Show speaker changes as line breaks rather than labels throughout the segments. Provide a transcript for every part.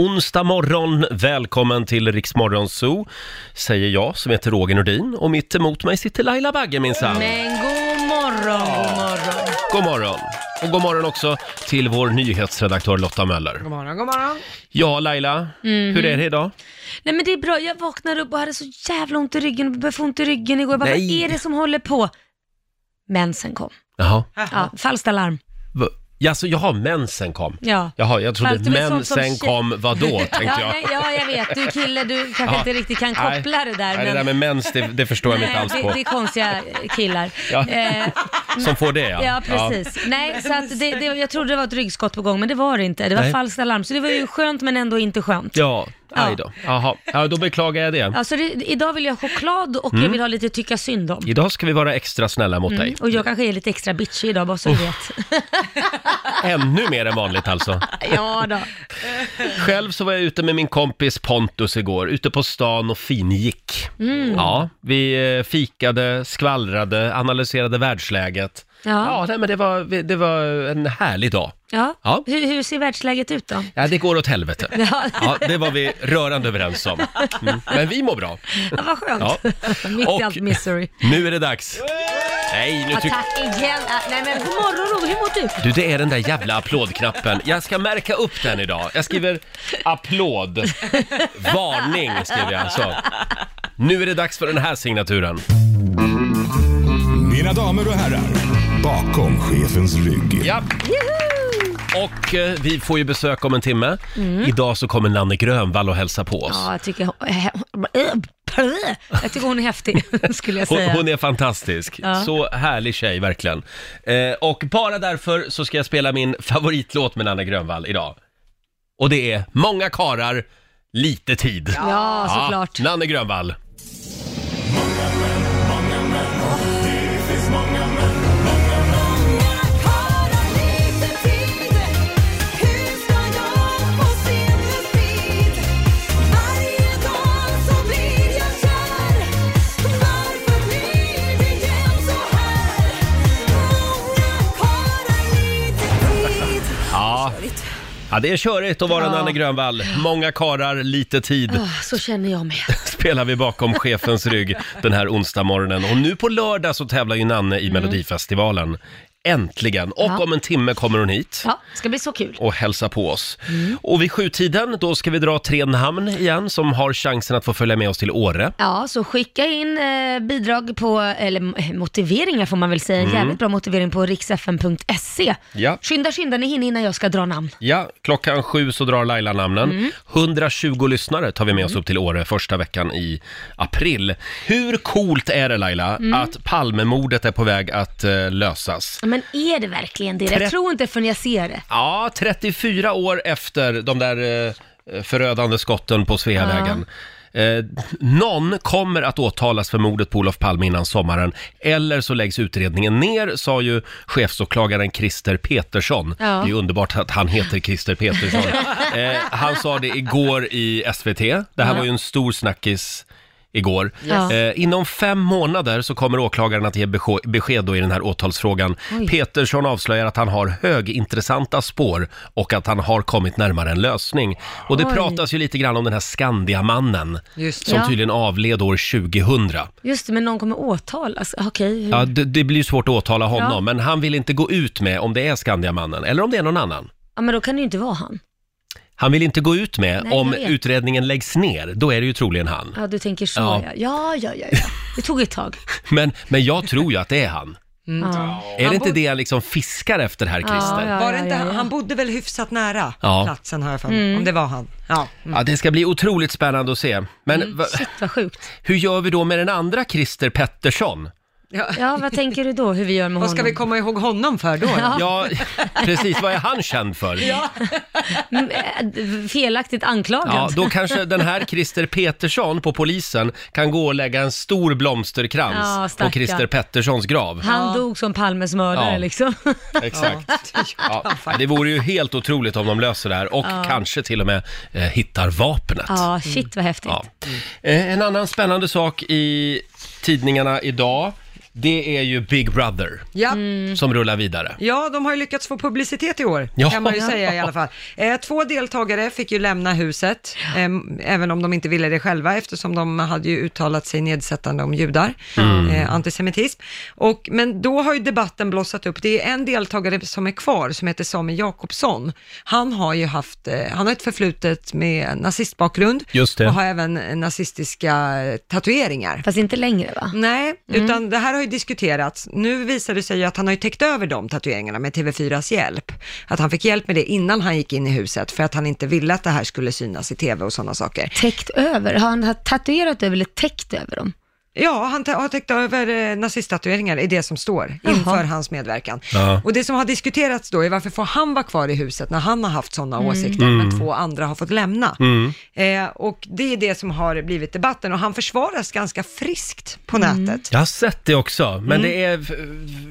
Onsdag morgon, välkommen till Riksmorgon Zoo, säger jag som heter Roger Nordin och mitt emot mig sitter Laila Bagge minsann.
Men god morgon,
God
god morgon.
morgon! Och god morgon också till vår nyhetsredaktör Lotta Möller.
God morgon, god morgon.
Ja, Laila,
Mhm.
hur är det idag?
Nej men det är bra, jag vaknade upp och hade så jävla ont i ryggen, jag började få ont i ryggen igår. Jag bara,
Nej.
vad är det som håller på? Mensen kom.
Jaha.
Ja, falskt alarm.
Va- Jaså, jaha, mensen kom.
Ja.
Jaha, jag trodde
Fast du är sån som
mensen
tjej-
kom, vadå,
Ja,
tänkte jag.
nej, ja, jag vet. Du är kille, du kanske
Ja.
inte riktigt kan koppla det där.
Nej, det där med mens, det, det förstår jag mig inte
Nej,
alls
det,
på.
det är konstiga killar.
Ja.
Eh,
Som får det, ja.
ja. precis. Nej, så att det, det, jag trodde det var ett ryggskott på gång, men det var det inte. Det var
Nej.
falskt alarm, så det var ju skönt men ändå inte skönt.
Ja, aj då. Jaha, ja, då beklagar jag det.
Alltså det, idag vill jag ha choklad och
Mm.
jag vill ha lite tycka synd om.
Idag ska vi vara extra snälla mot dig.
Och jag kanske är lite extra bitchig idag bara så du vet.
Ännu mer än vanligt alltså.
ja då.
Själv så var jag ute med min kompis Pontus igår, ute på stan och fingick. Ja, vi eh, fikade, skvallrade, analyserade världsläget.
Ja.
Ja, nej, men det var, det var en härlig dag.
Ja.
Ja.
Hur, hur ser världsläget ut då?
Ja, det går åt helvete.
Ja,
Ja, det var vi rörande överens om. Mm. Men vi mår bra.
ja vad skönt.
Ja.
Mitt
Och-
i allt misery.
Nu är det dags. Nej, nu
Ja,
tycker...
tack igen. Ah, Nej men god morgon Roger, hur mår du?
Du, det är den där jävla applådknappen. Jag ska märka upp den idag. Jag skriver applåd. Varning skriver jag. Så. Nu är det dags för den här signaturen.
Mina damer och herrar, bakom chefens rygg.
Ja. Och eh, vi får ju besök om en timme. Idag så kommer Nanne Grönvall och hälsa på oss.
Mm. Ja, jag tycker, jag tycker hon är häftig, skulle jag
Hon,
säga.
hon är fantastisk.
Ja.
Så härlig tjej, verkligen. Eh, och bara därför så ska jag spela min favoritlåt med Nanne Grönvall idag. Och det är Många karar, lite tid.
Ja, såklart.
Ja, Nanne Grönvall. Ja. ja, det är körigt att vara
Ja.
Nanne Grönvall. Många karar, lite tid.
Ah, Så känner jag med.
spelar vi bakom chefens rygg den här onsdag morgonen. Och nu på lördag så tävlar ju Nanne i Melodifestivalen. Äntligen! Och
Mm. Ja.
om en timme kommer hon hit
Ja, Mm. ska bli så kul.
och hälsa på oss. Och vid sjutiden, då ska vi dra tre namn igen som har chansen att få följa med oss till Åre.
Ja, så skicka in eh, bidrag på, eller eh, motiveringar får man väl säga, en jävligt bra motivering på riksfn.se.
Ja.
Skynda, skynda, ni hinner innan jag ska dra namn.
Ja, klockan sju så drar Laila namnen. 120 lyssnare tar vi med oss upp till Åre första veckan i april. Hur coolt är det Laila att Palmemordet är på väg att eh, lösas?
Men är det verkligen det?
Trett-
Jag tror inte förrän jag ser det.
Ja, 34 år efter de där eh, förödande skotten på Sveavägen. Eh, någon kommer att åtalas för mordet på Olof Palme innan sommaren, eller så läggs utredningen ner, sa ju chefsåklagaren Christer Petersson.
Ja.
Det är ju underbart att han heter Christer Petersson. eh, han sa det igår i SVT, det här var ju en stor snackis igår.
Ja.
Eh, inom fem månader så kommer åklagaren att ge besjo- besked då i den här åtalsfrågan.
Oj.
Petersson avslöjar att han har högintressanta spår och att han har kommit närmare en lösning. Och det
Oj.
pratas ju lite grann om den här Skandiamannen
Just
som
Ja. Mm.
tydligen avled år 2000.
Just det, men någon kommer åtalas. Okej, hur?
Ja, det, det blir ju svårt att åtala honom,
Ja.
men han vill inte gå ut med om det är Skandiamannen eller om det är någon annan.
ja, men då kan det ju inte vara han.
Han vill inte gå ut med
Nej,
om
jag vet.
utredningen läggs ner, då är det ju troligen han.
Ja, du tänker så
Ja.
ja. Ja, ja, ja, ja. Det tog ett tag.
Men, men jag tror ju att det är han.
Ja.
Är det
Han
inte
bor-
det han liksom fiskar efter här, Christer?
Ja,
Var
ja,
det inte
ja,
han?
ja.
han bodde väl hyfsat nära
Ja.
platsen har jag för mig, om det var han. Ja. Mm.
Ja, det ska bli otroligt spännande att se. Men va,
Shit vad sjukt.
hur gör vi då med den andra Christer Pettersson?
Ja.
Ja, vad tänker du då hur vi gör med
Vad
honom?
ska vi komma ihåg honom för då?
Ja. precis. Vad är han känd för? Ja,
Mm, eh, Felaktigt anklagad.
då kanske den här Christer Petersson på polisen kan gå och lägga en stor
Ja,
blomsterkrans på
stackarn.
Christer Petterssons grav.
Han dog som Palmes mördare
Ja.
liksom.
Exakt.
Ja.
Ja. Det vore ju helt otroligt om de löser det här och kanske till och med eh, hittar vapnet.
Ja, shit vad häftigt.
Ja. Eh, En annan spännande sak i tidningarna idag. det är ju Big Brother
Ja.
Mm.
som rullar vidare.
Ja, de har ju lyckats få publicitet i år,
Ja.
kan man ju säga i alla fall. Eh, två deltagare fick ju lämna huset, eh, även om de inte ville det själva, eftersom de hade ju uttalat sig nedsättande om judar,
Mm.
eh, antisemitism. Och, men då har ju debatten blossat upp. Det är en deltagare som är kvar, som heter Samuel Jakobsson. Han har ju haft, eh, han har ett förflutet med nazistbakgrund
Just det.
och har även eh, nazistiska eh, tatueringar.
Fast inte längre va?
Nej, utan det här har ju diskuterats. Nu visar det sig ju att han har ju täckt över de tatueringarna med TV4s hjälp. Att han fick hjälp med det innan han gick in i huset för att han inte ville att det här skulle synas i TV och sådana saker.
Täckt över? Har han tatuerat över eller täckt över dem?
Ja, han ta- har täckt över eh, nazisttatueringar i det som står inför hans medverkan.
Ja.
Och det som har diskuterats då är varför får han vara kvar i huset när han har haft sådana åsikter men två andra har fått lämna. Eh, och det är det som har blivit debatten och han försvaras ganska friskt på nätet.
Jag har sett det också, men det är, f-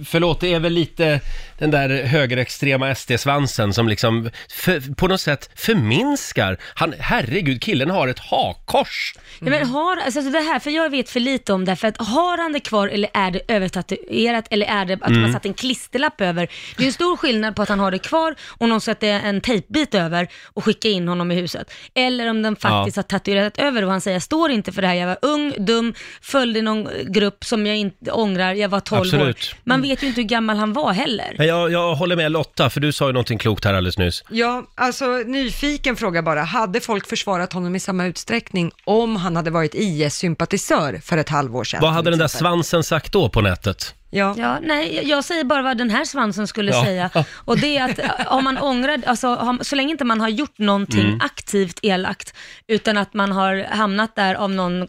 förlåt, det är väl lite den där högerextrema SD-svansen som liksom för, på något sätt förminskar. Han, herregud, killen har ett hakkors.
Ja, men har, alltså det här, för jag vet för lite om det, här, för att har han det kvar eller är det övertatuerat eller är det att man satt en klisterlapp över? Det är en stor skillnad på att han har det kvar och någon sätter en tejpbit över och skickar in honom i huset. Eller om den faktiskt har tatuerat över och han säger, jag står inte för det här, jag var ung, dum, följde någon grupp som jag inte ångrar, jag var 12
Absolut.
år. Man vet ju inte hur gammal han var heller.
Men jag, jag håller med Lotta, för du sa ju någonting klokt här alldeles nyss.
Ja, alltså nyfiken fråga bara. Hade folk försvarat honom i samma utsträckning om han hade varit IS-sympatisör för ett halvår sedan?
Vad hade
till
den där
exempel?
svansen sagt då på nätet?
Ja.
Ja, nej, jag- jag säger bara vad den här svansen skulle
Ja.
säga. Och det är att eh, om man ångrar, alltså, har- så länge inte man har gjort någonting
Mm.
aktivt elakt, utan att man har hamnat där av någon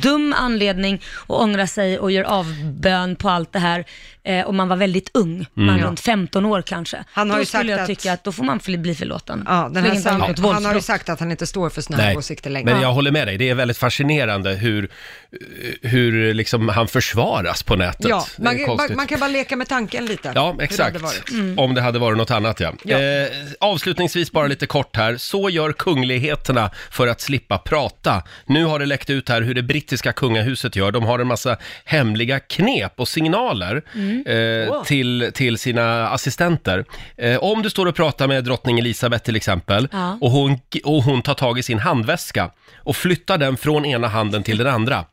dum anledning och ångrar sig och gör avbön på allt det här eh, och man var väldigt ung, man
Mm.
runt 15 år kanske.
Han har
då
ju
skulle
sagt
jag
att-
tycka att då får man fl- bli förlåten.
Ja,
så
den här
länge inte han, har gjort
Sam,
något
han har ju
våldsbrott.
sagt att han inte står för sådana här åsikter längre.
men jag håller med dig. Det är väldigt fascinerande hur, hur liksom han försvaras på nätet.
ja,
Det är
man, man,
konstigt.
man kan bara leka med tanken lite.
Ja,
Hur det hade varit.
exakt. Om det hade varit något annat, ja.
Ja.
Eh, avslutningsvis bara lite kort här. Så gör kungligheterna för att slippa prata. Nu har det läckt ut här hur det brittiska kungahuset gör. De har en massa hemliga knep och signaler eh,
Åh.
till, till sina assistenter. Eh, om du står och pratar med drottning Elisabeth till exempel
Ja.
och, hon, och hon tar tag i sin handväska och flyttar den från ena handen till den andra.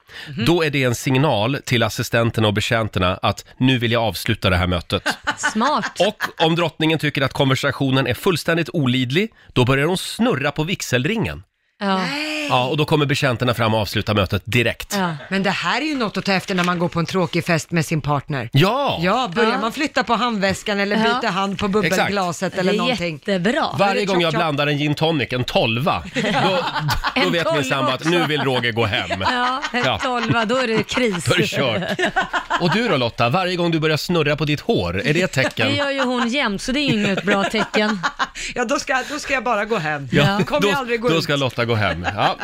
Då är det en signal till assistenterna och betjänterna att nu vill jag avsluta det här mötet.
Smart.
Och om drottningen tycker att konversationen är fullständigt olidlig, då börjar hon snurra på vigselringen.
Ja.
Ja, och då kommer betjänterna fram och avslutar mötet direkt. Ja!
Ja.
Men det här är ju något att ta efter när man går på en tråkig fest med sin partner. Ja, börjar
Ja.
man flytta på handväskan eller
Ja.
byta hand på bubbelglaset
Det
eller
är
någonting.
jättebra.
Varje gång jag
tjock, tjock.
blandar en gin tonic, en tolva, då, då
En
vet min
tolva
sambo att
också.
nu vill Roger gå hem.
Ja,
Ja.
en tolva, då är det kris.
Då är det kört. Och du då Lotta, varje gång du börjar snurra på ditt hår, är det ett
Det
tecken?
gör ju hon jämt, så det är ju inget bra tecken.
Ja, då ska, då ska jag bara gå hem.
Ja,
Då kommer jag aldrig gå
då, då
ut.
ska Lotta gå hem. Ja.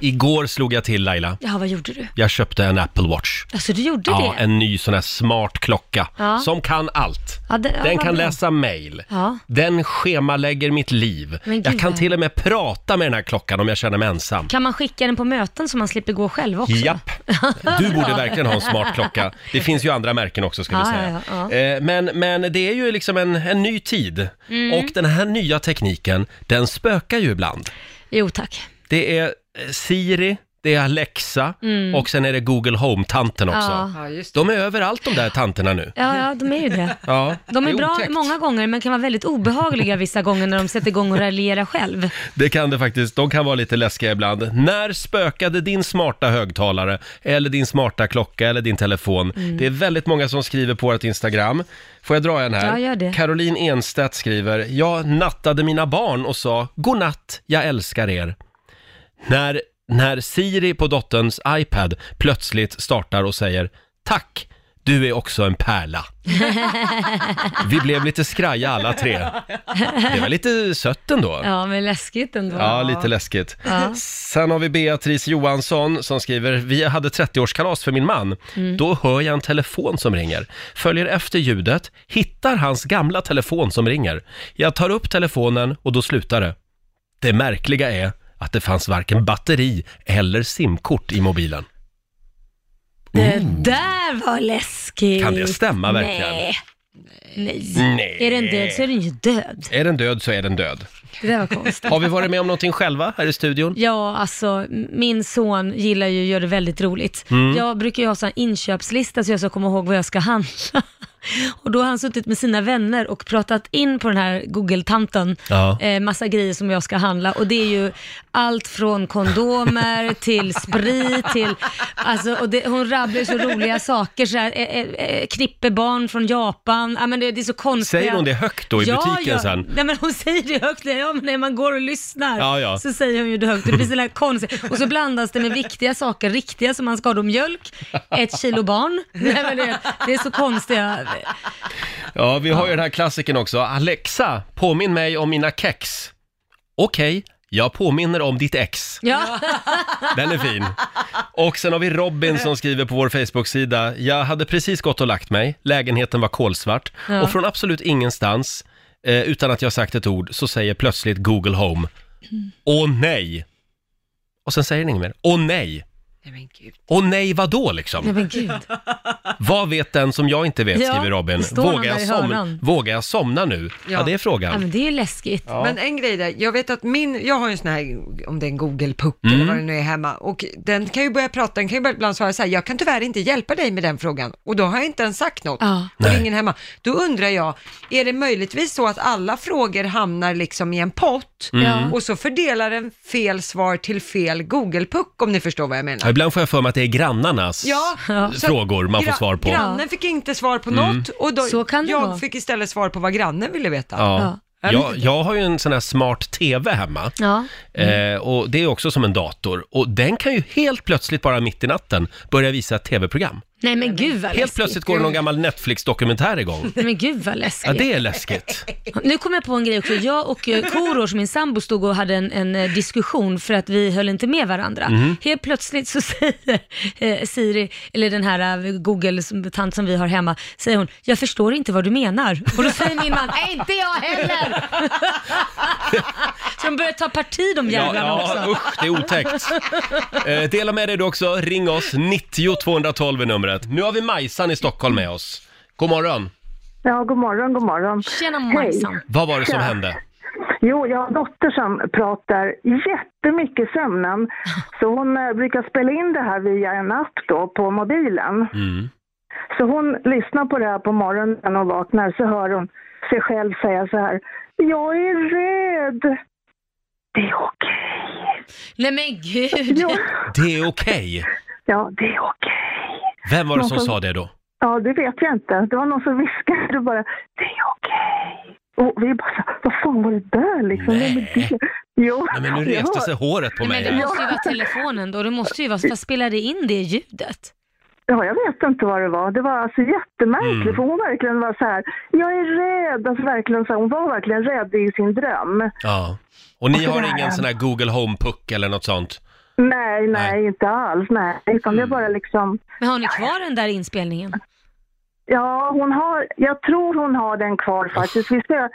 Igår slog jag till Laila.
Ja, vad gjorde du?
Jag köpte en Apple Watch.
Alltså du gjorde
Ja,
det?
en ny sån här smart klocka
Ja.
som kan allt.
Ja, det- ja,
den
vad
kan
bra.
läsa mejl,
Ja.
den schemalägger mitt liv.
Men gud,
Jag kan
vad-
till och med prata med den här klockan om jag känner mig ensam.
Kan man skicka den på möten så man slipper gå själv också?
Japp, du borde verkligen ha en smart klocka. Det finns ju andra märken också ska vi
Ja,
säga.
ja,
Eh, Men, men det är ju liksom en, en ny tid
Mm.
och den här nya tekniken, den spökar ju ibland.
Jo tack.
Det är eh, Siri, det är Alexa och sen är det Google Home-tanten också.
Mm. Ja.
Ja, just det.
De är överallt de där tanterna nu.
Ja, ja, de är ju det.
Ja,
De
det
är bra
otäckt.
många gånger men kan vara väldigt obehagliga vissa gånger när de sätter igång och raljerar själv.
Det kan det faktiskt. De kan vara lite läskiga ibland. När spökade din smarta högtalare eller din smarta klocka eller din telefon?
Mm.
Det är väldigt många som skriver på vårt Instagram. Får jag dra en här?
Ja, gör det.
Caroline Enstedt skriver, jag nattade mina barn och sa godnatt, jag älskar er. När, när Siri på dotterns iPad plötsligt startar och säger tack, du är också en pärla. Vi blev lite skraja alla tre. Det var lite sött ändå.
Ja, men läskigt ändå.
Ja, lite läskigt. Sen har vi Beatrice Johansson som skriver, vi hade 30-årskalas för min man.
Mm.
Då hör jag en telefon som ringer. Följer efter ljudet, hittar hans gamla telefon som ringer. Jag tar upp telefonen och då slutar det. Det märkliga är att det fanns varken batteri eller simkort i mobilen.
Det där var läskigt.
Mm. Kan det stämma verkligen?
Nej. Nej.
Nej.
Är den död så är den ju död.
Är den död så är den död.
Det där var konstigt.
Har vi varit med om någonting själva här i studion?
Ja, alltså min son gillar ju att göra det väldigt roligt.
Mm.
Jag brukar ju ha sån här inköpslista så jag ska komma ihåg vad jag ska handla. Och då har han suttit med sina vänner och pratat in på den här Google-tanten
Ja.
eh, massa grejer som jag ska handla och det är ju allt från kondomer till sprit till, alltså, och det, hon rabblar ju så roliga saker så här, eh, eh, eh, knippebarn från Japan, ja men det, det är så konstigt.
Säger hon det högt då i
ja,
butiken
ja.
sen?
Nej men hon säger det högt, ja men när man går och lyssnar
Ja, ja.
så säger hon ju det högt. Det blir sådär konstigt. Och så blandas det med viktiga saker, riktiga som man ska ha då mjölk, ett kilo barn. Nej men det, det är så konstiga.
Ja, vi har ju den här klassiken också. Alexa, påminn mig om mina kex. Okej, jag påminner om ditt ex.
Ja,
Den är fin. Och sen har vi Robin som skriver på vår Facebook-sida. Jag hade precis gått och lagt mig, lägenheten var kolsvart
Ja.
och från absolut ingenstans, eh, utan att jag sagt ett ord, så säger plötsligt Google Home. Åh nej! Och sen säger den inget mer. Åh nej!
Nej, men gud.
Åh nej vadå
Nej,
liksom?
men gud.
Vad vet den som jag inte vet,
Ja,
skriver Robin.
det står någon där
jag,
i hörnan.
vågar jag somna nu? Ja,
Ja.
det är
Ja,
frågan.
men det är ju läskigt. Ja.
Men en grej där, jag vet att min, jag har ju en sån här, om det är en Google Puck eller
Mm.
vad det nu är hemma, och den kan ju börja prata, den kan ju börja ibland svara så här, jag kan tyvärr inte hjälpa dig med den frågan, och då har jag inte ens sagt något,
Ja.
och det
Nej.
är ingen hemma. Då undrar jag, är det möjligtvis så att alla frågor hamnar liksom i en pott,
Mm.
Ja.
och så fördelar den fel svar till fel Google Puck, om ni förstår vad jag menar?
Ja, ibland får jag för mig att det är grannarnas
Ja, så att
frågor man får
gra-
svar på. Mm.
Grannen fick inte svar på något, och då,
Så kan det
jag
vara.
fick istället svar på vad grannen ville veta.
Ja.
Ja.
Jag, jag har ju en sån här smart TV hemma. Eh, och det är också som en dator. Och den kan ju helt plötsligt bara mitt i natten börja visa ett TV-program.
Nej men gud vad
Helt
läskigt.
plötsligt går det någon gammal Netflix-dokumentär igång.
Nej men gud vad
Ja,
läskigt.
det är läskigt.
Nu kom jag på en grej också. Jag och eh, Korosh, min sambo, stod och hade en, en eh, diskussion för att vi höll inte med varandra.
Mhm.
Helt plötsligt så säger eh, Siri, eller den här eh, Google-tant som vi har hemma, säger hon, jag förstår inte vad du menar. Och då säger min man, "Nej, inte jag heller. så de börjar ta parti de
Ja,
jävlarna
ja,
också.
usch, det är otäckt. Eh, dela med dig du också. Ring oss, 90 212 är numret. Nu har vi Majsan i Stockholm med oss. God morgon.
Ja, god morgon, god morgon.
Tjena Majsan.
Vad var det som hände?
Jo, jag har en dotter som pratar jättemycket sömnen. Så hon eh, brukar spela in det här via en app då på mobilen.
Mm.
Så hon lyssnar på det här på morgonen när hon vaknar så hör hon sig själv säga så här. Jag är rädd. Det är okej.
Nej men gud.
Ja,
Det är okej.
ja, det är okej.
Vem var det som
Någon som-
sa det då?
Ja, det vet jag inte. Det var någon som viskade bara, det är okej. Och vi bara, så här, vad fan var det där liksom? Vem är
Nej.
det? Jo,
Nej, men nu
jag
reste
hör-
sig håret på
Nej, men
mig.
det
här.
måste ju vara telefonen då. Det måste ju vara, vad spelar det in det ljudet?
Ja, jag vet inte vad det var. Det var alltså jättemärkligt,
Mm.
för hon verkligen var så här, jag är rädd. Alltså verkligen så här, hon var verkligen rädd i sin dröm.
Ja. Och ni har
det här-
ingen sån här Google Home-puck eller något sånt?
Nej, nej,
Nej. Mm.
inte alls, nej. Utan det är bara liksom,
Men har ni kvar den där inspelningen?
ja, hon har, jag tror hon har den kvar faktiskt. Vi sö-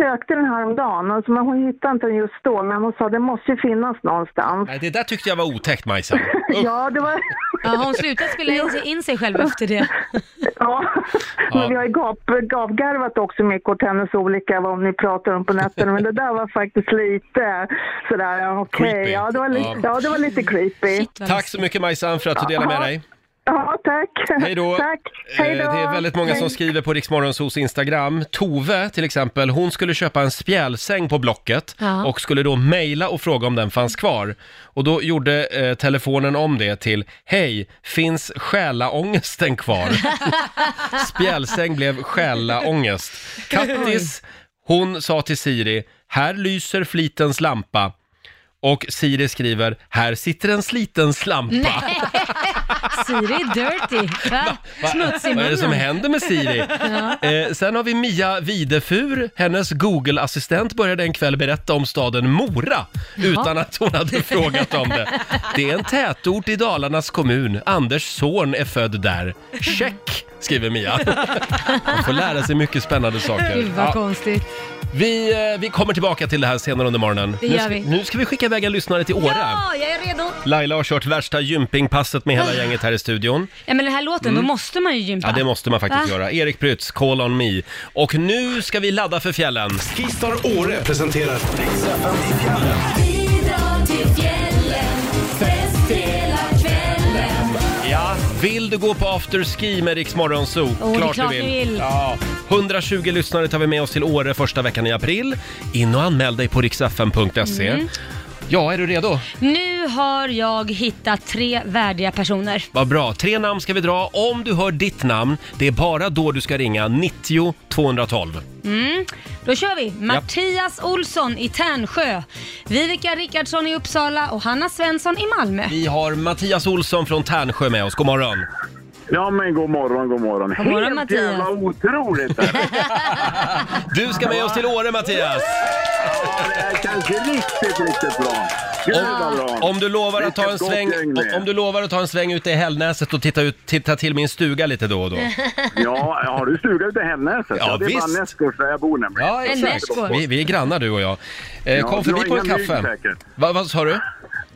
sökte den här om dagen, alltså, men hon hittade inte den just då, men hon sa det måste ju finnas någonstans.
Nej, det där tyckte jag var otäckt, Majsan.
Ja, det var...
Ja, har hon slutat spela in, sig- in sig själv efter det?
Ja,
Ja.
men vi har ju gap, gapgarvat också mycket åt hennes olika vad ni pratar om på nätterna. Men det där var faktiskt lite sådär, okej,
Creepy.
ja, det var lite,
Ja.
ja. det var lite creepy.
Shit, vad
Tack så mycket Majsan för att du delade med dig.
Ja, tack.
Hej då.
Tack.
Eh,
Hej då.
Det är väldigt många som
Hej.
skriver på Riksmorgonsos Instagram. Tove till exempel, hon skulle köpa en spjälsäng på Blocket
Ja.
och skulle då mejla och fråga om den fanns kvar. Och då gjorde eh, telefonen om det till Hej, finns själaångesten kvar? spjälsäng blev själaångest. Kattis, hon sa till Siri, här lyser flitens lampa. Och Siri skriver, här sitter en sliten slampa.
Siri är dirty. Va?
Va-
Smutsig
Vad är det som
munnen.
händer med Siri? eh, sen har vi Mia Videfur. Hennes Google-assistent började en kväll berätta om staden Mora utan att hon hade frågat om det. Det är en tätort i Dalarnas kommun. Anders son är född där. Check, skriver Mia. Man får lära sig mycket spännande saker.
Gud vad
Ja,
konstigt.
vi, eh, vi kommer tillbaka till det här senare under morgonen.
Det
nu,
gör
ska,
vi.
nu ska vi skicka iväg en lyssnare till Åre.
Ja, jag är redo.
Laila har kört värsta gympingpasset med
Ah.
hela gänget här i studion.
Ja, men den här låten, då måste man ju gympa.
Mm. Ja, det måste man faktiskt
Va?
göra. Erik Prytz, Call on me. Och nu ska vi ladda för fjällen.
Skistar Åre presenterar
Ja. Vill du gå på afterski med Rix Morgonzoo?
det är klart vi vill.
Ja. 120 lyssnare tar vi med oss till Åre första veckan i april. In och anmäl dig på riksfm.se.
Mm.
Ja, är du redo?
Nu har jag hittat tre värdiga personer.
Vad bra. Tre namn ska vi dra. Om du hör ditt namn, det är bara då du ska ringa 90 212.
Då kör vi! Mattias Olsson i Tärnsjö, Vivica Rickardsson i Uppsala och Hanna Svensson i Malmö.
Vi har Mattias Olsson från Tärnsjö med oss. God morgon.
Ja men god morgon, god morgon.
God morgon,
Helt
Mattias.
jävla otroligt! det här.
Du ska med oss till Åre, Mattias!
Ja, det här känns riktigt, riktigt bra. Gud vad bra.
Om du lovar att ta en
Vilket gott
sväng,
gäng det är.
om du lovar att ta en sväng ute i Hällnäset och titta, ut, titta till min stuga lite då och då.
Ja, har du stuga ute i Hemnäset?
Ja,
det är
visst.
bara Näsgårds där jag bor nämligen.
Ja, exakt.
Näsgård.
Vi, vi är grannar du och jag. Eh, kom
du
förbi
har
på en
inga mygg
kaffe.
säkert.
Va, vad sa du?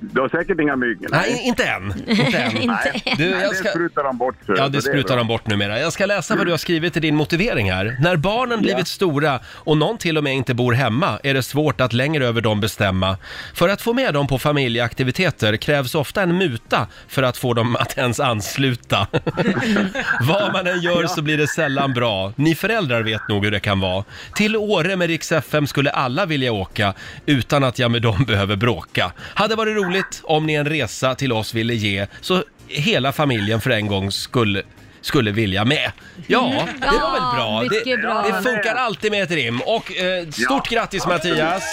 Du har säkert inga mygg?
Nej, inte än. Inte än.
Nej.
Du,
Nej,
jag
det
ska-
sprutar de bort. så
Ja,
det
det
är
sprutar
bra.
de bort numera. Jag ska läsa vad du har skrivit i din motivering här. När barnen blivit stora och någon till och med inte bor hemma är det svårt att längre över dem bestämma. För att få med dem på familjeaktiviteter krävs ofta en muta för att få dem att ens ansluta. vad man än gör så blir det sällan bra. Ni föräldrar vet nog hur det kan vara. Till Åre med Rix FM skulle alla vilja åka utan att jag med dem behöver bråka. Hade varit roligt om ni en resa till oss ville ge så hela familjen för en gång skulle skulle vilja med. Ja, det var väl bra. Det,
mycket bra.
det funkar alltid med ett rim. Och eh, stort grattis Mattias!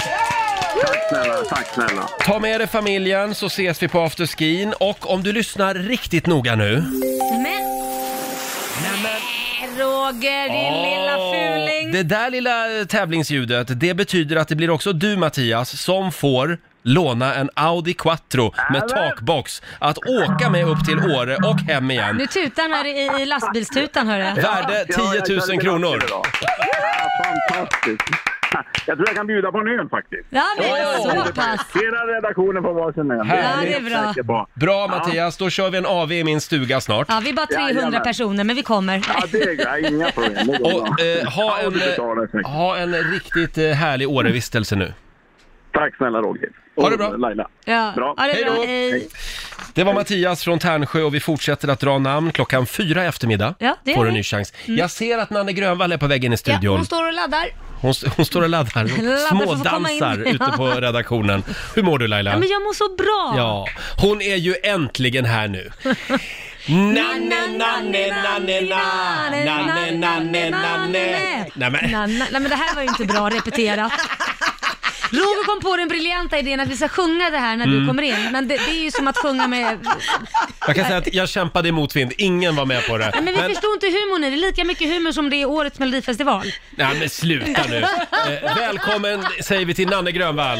Tack snälla, tack snälla.
Ta med dig familjen så ses vi på afterskin. Och om du lyssnar riktigt noga nu.
Men... Roger, din lilla fuling.
Det där lilla tävlingsljudet, det betyder att det blir också du Mattias som får låna en Audi Quattro med takbox att åka med upp till Åre och hem igen.
Nu tutar här i, i lastbilstutan hör jag.
Värde
Ja,
10
jag körde
000
till
kronor.
Lasse idag. Ja, fantastiskt. Jag tror jag kan bjuda på en öl faktiskt.
Ja, men
Oj.
så pass.
Hela redaktionen får varsin öl.
Ja,
det är
jag helt
bra.
säker på.
Bra Mattias, då kör vi en AV i min stuga snart.
Ja, vi är bara 300
Jajamän.
personer, men vi kommer.
Ja, det är ja, inga problem. Det går
Och
bra.
eh, ha,
Ja,
en,
du betalar säkert.
eh, ha en riktigt eh, härlig Årevistelse nu.
Tack snälla Roger.
Ha det bra.
Och eh, Laila.
Ja.
Bra.
Ja, det är bra.
Hej då.
Hej.
Det var Mattias från Tärnsjö och vi fortsätter att dra namn klockan fyra i eftermiddag.
Ja, det gör
får du en
vi. Mm.
ny chans. Jag ser att Nanne Grönvall är på väggen i
Ja,
studion.
hon står och laddar.
Hon, s- hon står och laddar,
Laddar för att få komma in.
smådansar ute på redaktionen. Hur mår du Laila?
Ja, men jag mår så bra.
Ja, hon är ju äntligen här nu. Nanne, nanne, nanne, na. nanne, nanne, nanne. Nej men,
Nanne. Nej, men det här var ju inte bra repeterat. Roger kom på den briljanta idén att vi ska sjunga det här när du kommer in, men det, det är ju som att sjunga med...
jag kan säga att jag kämpade emot vind. Ingen var med på det.
Men vi förstår inte humorn i det, det är lika mycket humor som det är i årets melodifestival.
nej, men sluta nu. Eh, välkommen säger vi till Nanne Grönvall.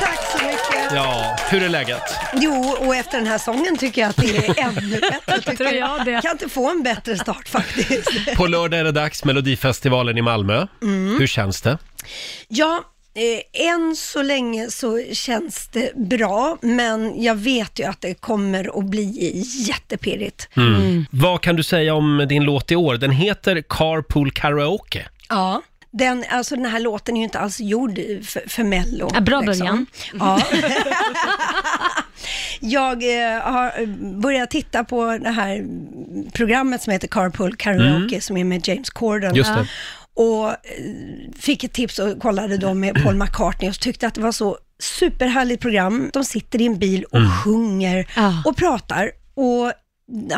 Tack så mycket.
Ja, hur är läget?
Jo, och efter den här sången tycker jag att det är ännu bättre. Tycker
Tror jag det.
Kan inte få en bättre start faktiskt.
På lördag är det dags, Melodifestivalen i Malmö. Hur känns det?
Ja, eh, än så länge så känns det bra, men jag vet ju att det kommer att bli jättepirrigt.
Mm. Vad kan du säga om din låt i år? Den heter Carpool Karaoke.
Ja. Den, alltså den här låten är ju inte alls gjord för, för Mello. liksom.
Ja, bra början.
Ja. jag eh, har börjat titta på det här programmet som heter Carpool Karaoke som är med James Corden.
Mm. Just det.
Och eh, fick ett tips och kollade då med Paul McCartney och tyckte att det var så superhärligt program. De sitter i en bil och sjunger
Ja.
och pratar. Och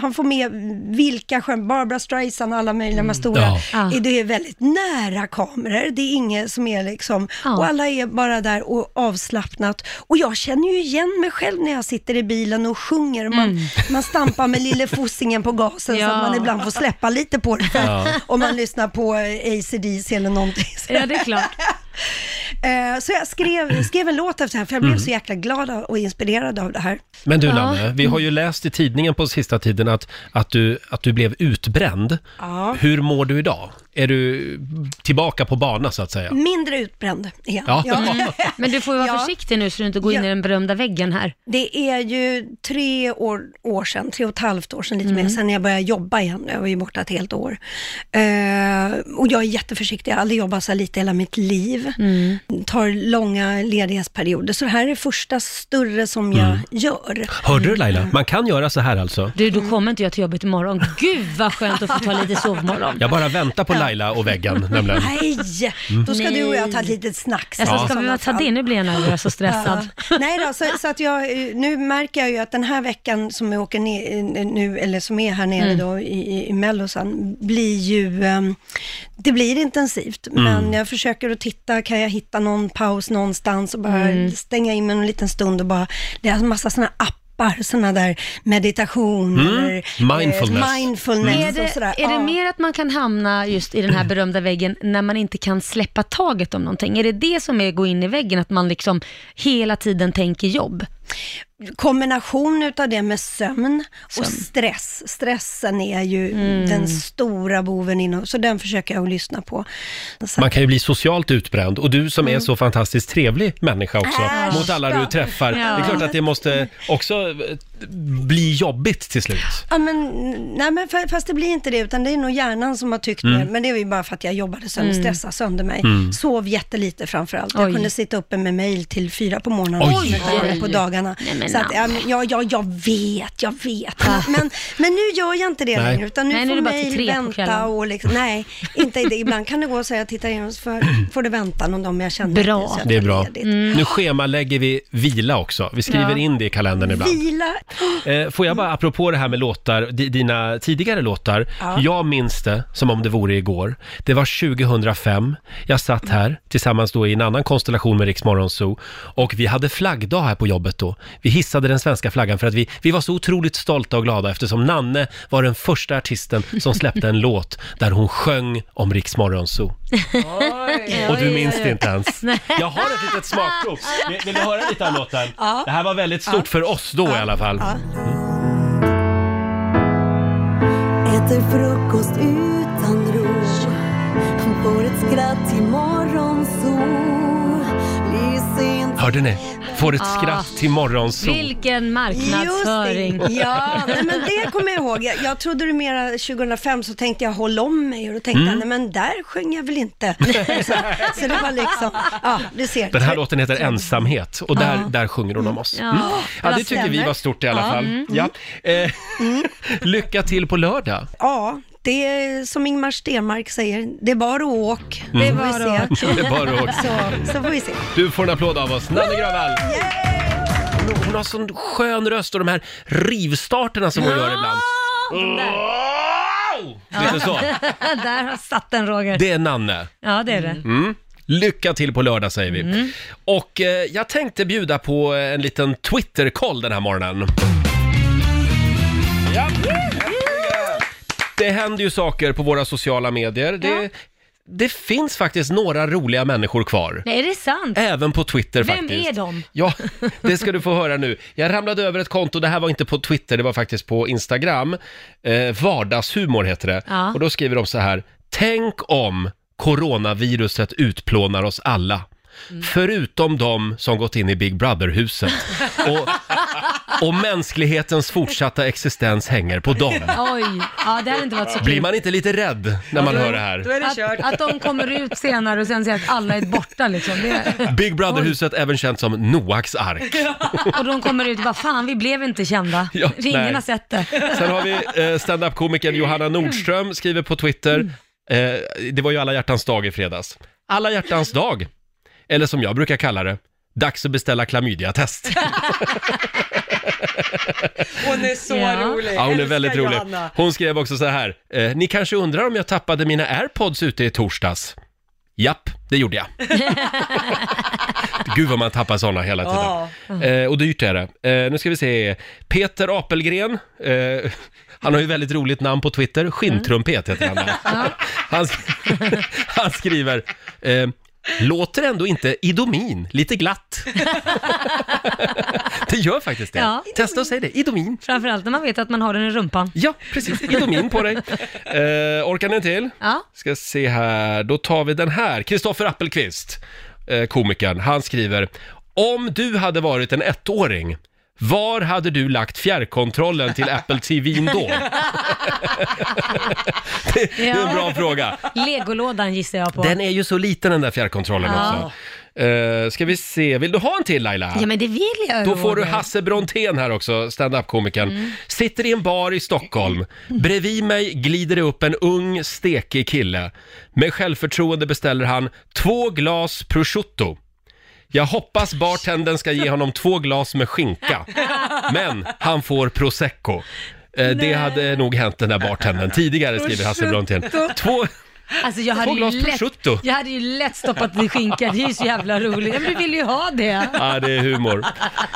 han får med vilka skämt, Barbara Streisand och alla möjliga de här stora.
Ja.
Ja.
Det är väldigt nära kameror, det är inget som är liksom,
Ja.
och alla är bara där och avslappnat. Och jag känner ju igen mig själv när jag sitter i bilen och sjunger. Man, man stampar med lille fossingen på gasen så
Ja.
att man ibland får släppa lite på det. Om man lyssnar på ACDC eller någonting.
Ja, det är klart.
Eh, Så jag skrev, skrev en låt efter det här, för jag
Mm.
blev så jäkla glad av- och inspirerad av det här.
Men du
Ja.
Nanne, vi har ju läst i tidningen på sista tiden att, att, du, att du blev utbränd.
Ja.
Hur mår du idag? Är du tillbaka på bana så att säga?
Mindre utbränd igen.
Ja.
Men du får ju vara
Ja.
försiktig nu så du inte går in
Ja.
i den berömda väggen här.
Det är ju tre år, år sedan, tre och ett halvt år sedan lite
Mm.
mer, sedan jag började jobba igen. Jag var ju borta ett helt år. Eh, och jag är jätteförsiktig, jag har aldrig jobbat så här lite hela mitt liv.
Mm.
Tar långa ledighetsperioder, så det här är det första större som jag gör.
Mm. Hörde du Laila? Man kan göra så här alltså.
Du,
Mm.
då kommer inte jag till jobbet imorgon. Gud vad skönt att få ta lite sovmorgon.
Jag bara väntar på Laila och väggen nämligen.
Nej, då ska du och jag ta ett
Nej.
litet snack. sen i
Alltså, ska
sådana
vi bara ta
fall.
det? Nu blir jag nervös och stressad.
Ja. Nej då, så, så att jag, eh, nu märker jag ju att den här veckan som jag åker ner eh, nu, eller som är här nere
Mm.
då i, i- i Mellosan, blir ju, ehm, det blir intensivt,
Mm.
men jag försöker att titta, kan jag hitta någon paus någonstans och bara
Mm.
stänga in mig en liten stund och bara, det är en massa sådana appar, sådana där meditation eller eh,
Mindfulness.
mindfulness
Är
och
det,
sådär.
är det
Ja.
mer att man kan hamna just i den här berömda väggen när man inte kan släppa taget om någonting? Är det det som är att gå in i väggen, att man liksom hela tiden tänker jobb?
kombination utav det med sömn och stress. Stressen är ju den stora boven inom, så den försöker jag att lyssna på. Så
Man kan ju bli socialt utbränd och du som är så fantastiskt trevlig människa också
Äsch
mot alla du
då.
träffar. Det är klart att det måste också eh, bli jobbigt till slut.
Ja, men, nej, men fa- fast det blir inte det, utan det är nog hjärnan som har tyckt
Mm.
mer. Men det är ju bara för att jag jobbade sönder, stressade sönder mig. Sov jättelite framförallt. Jag
Mm. Oj.
kunde sitta uppe med mail till fyra på morgonen och
Oj.
till
Oj.
på dagarna.
Nej, men
så att, ja, men, ja, ja, jag vet, jag vet. men, men nu gör jag inte det
Nej.
längre, utan nu
Nej, nu är
får
det bara till tre
mail
på kvällen.
vänta och liksom, nej, inte det. Ibland kan det gå så att jag tittar in och så får- får det vänta någon dag, men jag känner
Bra.
att så jag
Det är
tar
bra.
ledigt.
Nu schemalägger vi vila också. Vi skriver
Ja.
in det i kalendern Mm. ibland.
Vila.
Eh, får jag bara, apropå det här med låtar, di- dina tidigare låtar. Jag minns det som om det vore igår. Det var 2005. Jag satt här tillsammans då i en annan konstellation med Riksmorgon Zoo och vi hade flaggdag här på jobbet då. Vi hissade den svenska flaggan för att vi, vi var så otroligt stolta och glada eftersom Nanne var den första artisten som släppte en låt där hon sjöng om Riksmorgon Zoo. Och du minns det inte ens. Jag har ett litet smakprov. Vill, vill du höra lite av låten? Det här var väldigt stort för oss då i alla fall.
Äter frukost utan ro Får ett skratt till morgonsol Blir sent
Hörde ni? Får ett skratt till morgonsol.
Vilken marknadsföring!
Just det. Ja, nej, men det kommer jag ihåg. Jag, jag trodde du mera 2005 så tänkte jag håll om mig och då tänkte
Mm.
jag, nej men där sjöng jag väl inte. så, så det var liksom, ja du ser.
Den här låten heter Ensamhet och där, där sjunger hon om oss.
Ja.
Ah. Mm. Ja, det
Vad
tycker vi
stämmer.
var stort i alla fall. Ja. Eh, lycka till på lördag.
Ja, det är som Ingmar Stenmark säger, det är bara att åk. Det är bara att
Mm. Det är bara att-
så, så får vi se.
Du får en applåd av oss, Nanne Grönvall! Hon- Hon har sån skön röst och de här rivstarterna som hon gör ibland. Wow! Lite så.
Där har satt den Roger.
Det är Nanne.
Ja, det är det.
Lycka till på lördag säger vi. Och eh, jag tänkte bjuda på eh, en liten Twitter-koll den här morgonen. Ja. Det händer ju saker på våra sociala medier. Det, det finns faktiskt några roliga människor kvar.
Nej, är det sant?
Även på Twitter
Vem
faktiskt.
är de?
Ja, det ska du få höra nu. Jag ramlade över ett konto, det här var inte på Twitter, det var faktiskt på Instagram. Eh, vardagshumor heter det.
Ja.
Och då skriver de så här, tänk om coronaviruset utplånar oss alla.
Mm.
Förutom de som gått in i Big Brother-huset. och, och mänsklighetens fortsatta existens hänger på dem.
Oj, ja, det hade inte varit så
Blir
kul.
man inte lite rädd när man hör det
Då
här?
är det
Att,
kört.
att de kommer ut senare och sen ser att alla är borta liksom. Det,
Big Brother-huset, även känt som Noaks ark.
och de kommer ut och bara, fan vi blev inte kända.
Ja,
Ingen
nej.
har sett det.
Sen har vi eh, standup-komikern Johanna Nordström skriver på Twitter, eh, det var ju alla hjärtans dag i fredags. Alla hjärtans dag, eller som jag brukar kalla det, dags att beställa klamydiatest.
Hon är så
Ja.
rolig.
Ja, hon är
Älskar
väldigt rolig.
Johanna.
Hon skrev också så här, eh, ni kanske undrar om jag tappade mina airpods ute i torsdags? Japp, det gjorde jag. Gud vad man tappar sådana hela tiden.
Ja.
Eh, och dyrt är det. Eh, nu ska vi se. Peter Apelgren. Eh, han har ju väldigt roligt namn på Twitter. Skinntrumpet heter han. Han, sk- han skriver. Eh, Låter ändå inte Idomin lite glatt? det gör faktiskt det.
Ja.
Testa och säg det. Idomin.
Framförallt när man vet att man har den i rumpan.
Ja, precis. Idomin på dig. Eh, orkar ni en till?
Ja.
Ska se här, då tar vi den här. Kristoffer Appelqvist, eh, komikern, han skriver Om du hade varit en ettåring, var hade du lagt fjärrkontrollen till Apple TV då? det, det är en bra fråga.
Legolådan gissar jag på.
Den är ju så liten den där fjärrkontrollen
Ja.
också. Eh, ska vi se, vill du ha en till Laila?
Ja men det vill jag
Då får du
Roger. Mm.
Hasse Brontén här också, standup-komikern. Sitter i en bar i Stockholm. Bredvid mig glider det upp en ung, stekig kille. Med självförtroende beställer han två glas prosciutto. Jag hoppas bartendern ska ge honom två glas med skinka. Men han får prosecco. Eh, Det hade nog hänt den där bartendern tidigare, skriver Hasse Brontén. Två...
Alltså jag hade,
Två glas
ju lätt,
prosciutto.
jag hade ju lätt stoppat i skinka, det är ju så jävla roligt. Ja, Men du vill ju ha det.
Ja, det är humor.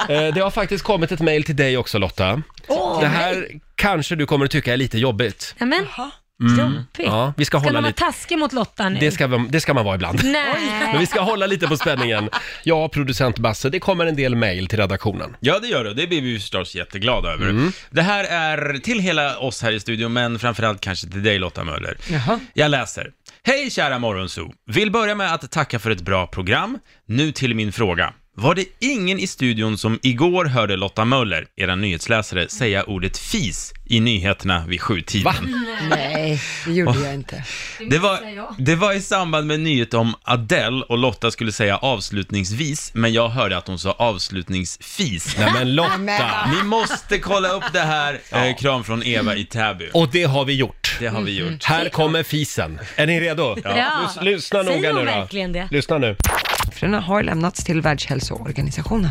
Eh, Det har faktiskt kommit ett mejl till dig också Lotta.
Åh,
Det här kanske du kommer att tycka är lite jobbigt.
Ja, men, jobbigt.
Mm. Ja, vi ska
Ska
hålla
man vara
lite.
taskig mot Lotta nu?
Det ska, vi- det ska man vara ibland. Men vi
Nej.
ska hålla lite på spänningen. Ja, producent Basse, det kommer en del mejl till redaktionen.
Ja, det gör det. Det blir vi förstås jätteglada över. Det här är till hela oss här i studion, men framförallt kanske till dig Lotta Möller. Jag läser. Hej kära Morgonzoo! Vill börja med att tacka för ett bra program. Nu till min fråga. Var det ingen i studion som igår hörde Lotta Möller, era nyhetsläsare, säga ordet fis i nyheterna vid sjutiden?
Va?
Nej, det gjorde jag inte.
Det var,
säga jag.
det var i samband med nyhet om Adele och Lotta skulle säga avslutningsvis, men jag hörde att hon sa avslutningsfis.
Nej men Lotta!
Ni måste kolla upp det här. Eh, kram från Eva i Täby.
Och det har vi gjort.
Det har vi gjort.
Här kommer fisen. Är ni redo?
Ja.
Lys- Lyssna
Säger
noga
hon
nu då.
verkligen det?
Lyssna nu.
Siffrorna har lämnats till Världshälsoorganisationen.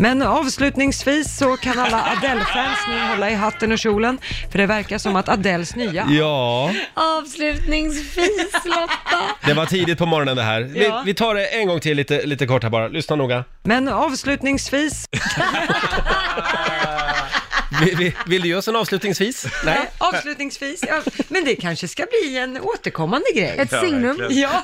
Men avslutningsvis så kan alla Adele-fans nu hålla i hatten och kjolen, för det verkar som att Adeles nya
Ja,
Avslutningsfis Lotta.
det var tidigt på morgonen det här. Vi, vi tar det en gång till lite, lite kort här bara. Lyssna noga.
Men avslutningsvis,
Vi, vi, vill du ge oss en avslutningsvis? Nej?
avslutningsvis, ja, men det kanske ska bli en återkommande grej.
Ett signum.
Ja,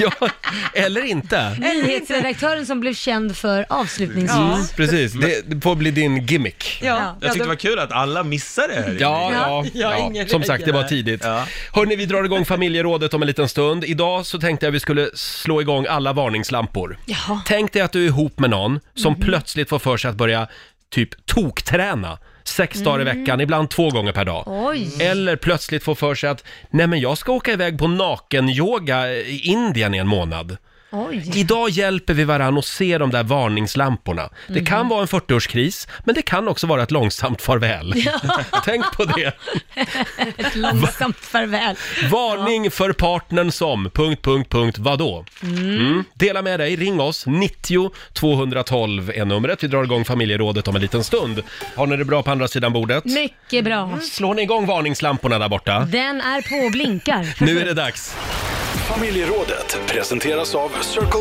Ja, eller inte.
Eh. Nyhetsredaktören som blev känd för avslutningsvis.
Mm, precis, det, det får bli din gimmick.
ja,
Jag tyckte det
ja,
var kul att alla missade det här.
Ja, ja,
Ja,
ja.
ingen
som sagt det var tidigt.
Ja.
Hörni, vi drar igång familjerådet om en liten stund. Idag så tänkte jag vi skulle slå igång alla varningslampor.
Jaha.
Tänk dig att du är ihop med någon som plötsligt får för sig att börja typ tokträna sex dagar i veckan, ibland två gånger per dag.
Oj.
Eller plötsligt får för sig att, nej men jag ska åka iväg på nakenyoga i Indien i en månad.
Oj.
Idag hjälper vi varann att se de där varningslamporna. Det kan vara en 40-årskris, men det kan också vara ett långsamt farväl. Tänk på det.
Ett långsamt farväl.
Varning för partnern som... Punkt, punkt, punkt, vadå? Mm. Dela med dig, ring oss. 90 212 är numret. Vi drar igång familjerådet om en liten stund. Har ni det bra på andra sidan bordet?
Mycket bra.
Slår ni igång varningslamporna där borta?
Den är på och blinkar.
Nu är det dags.
Familjerådet presenteras av Circle K.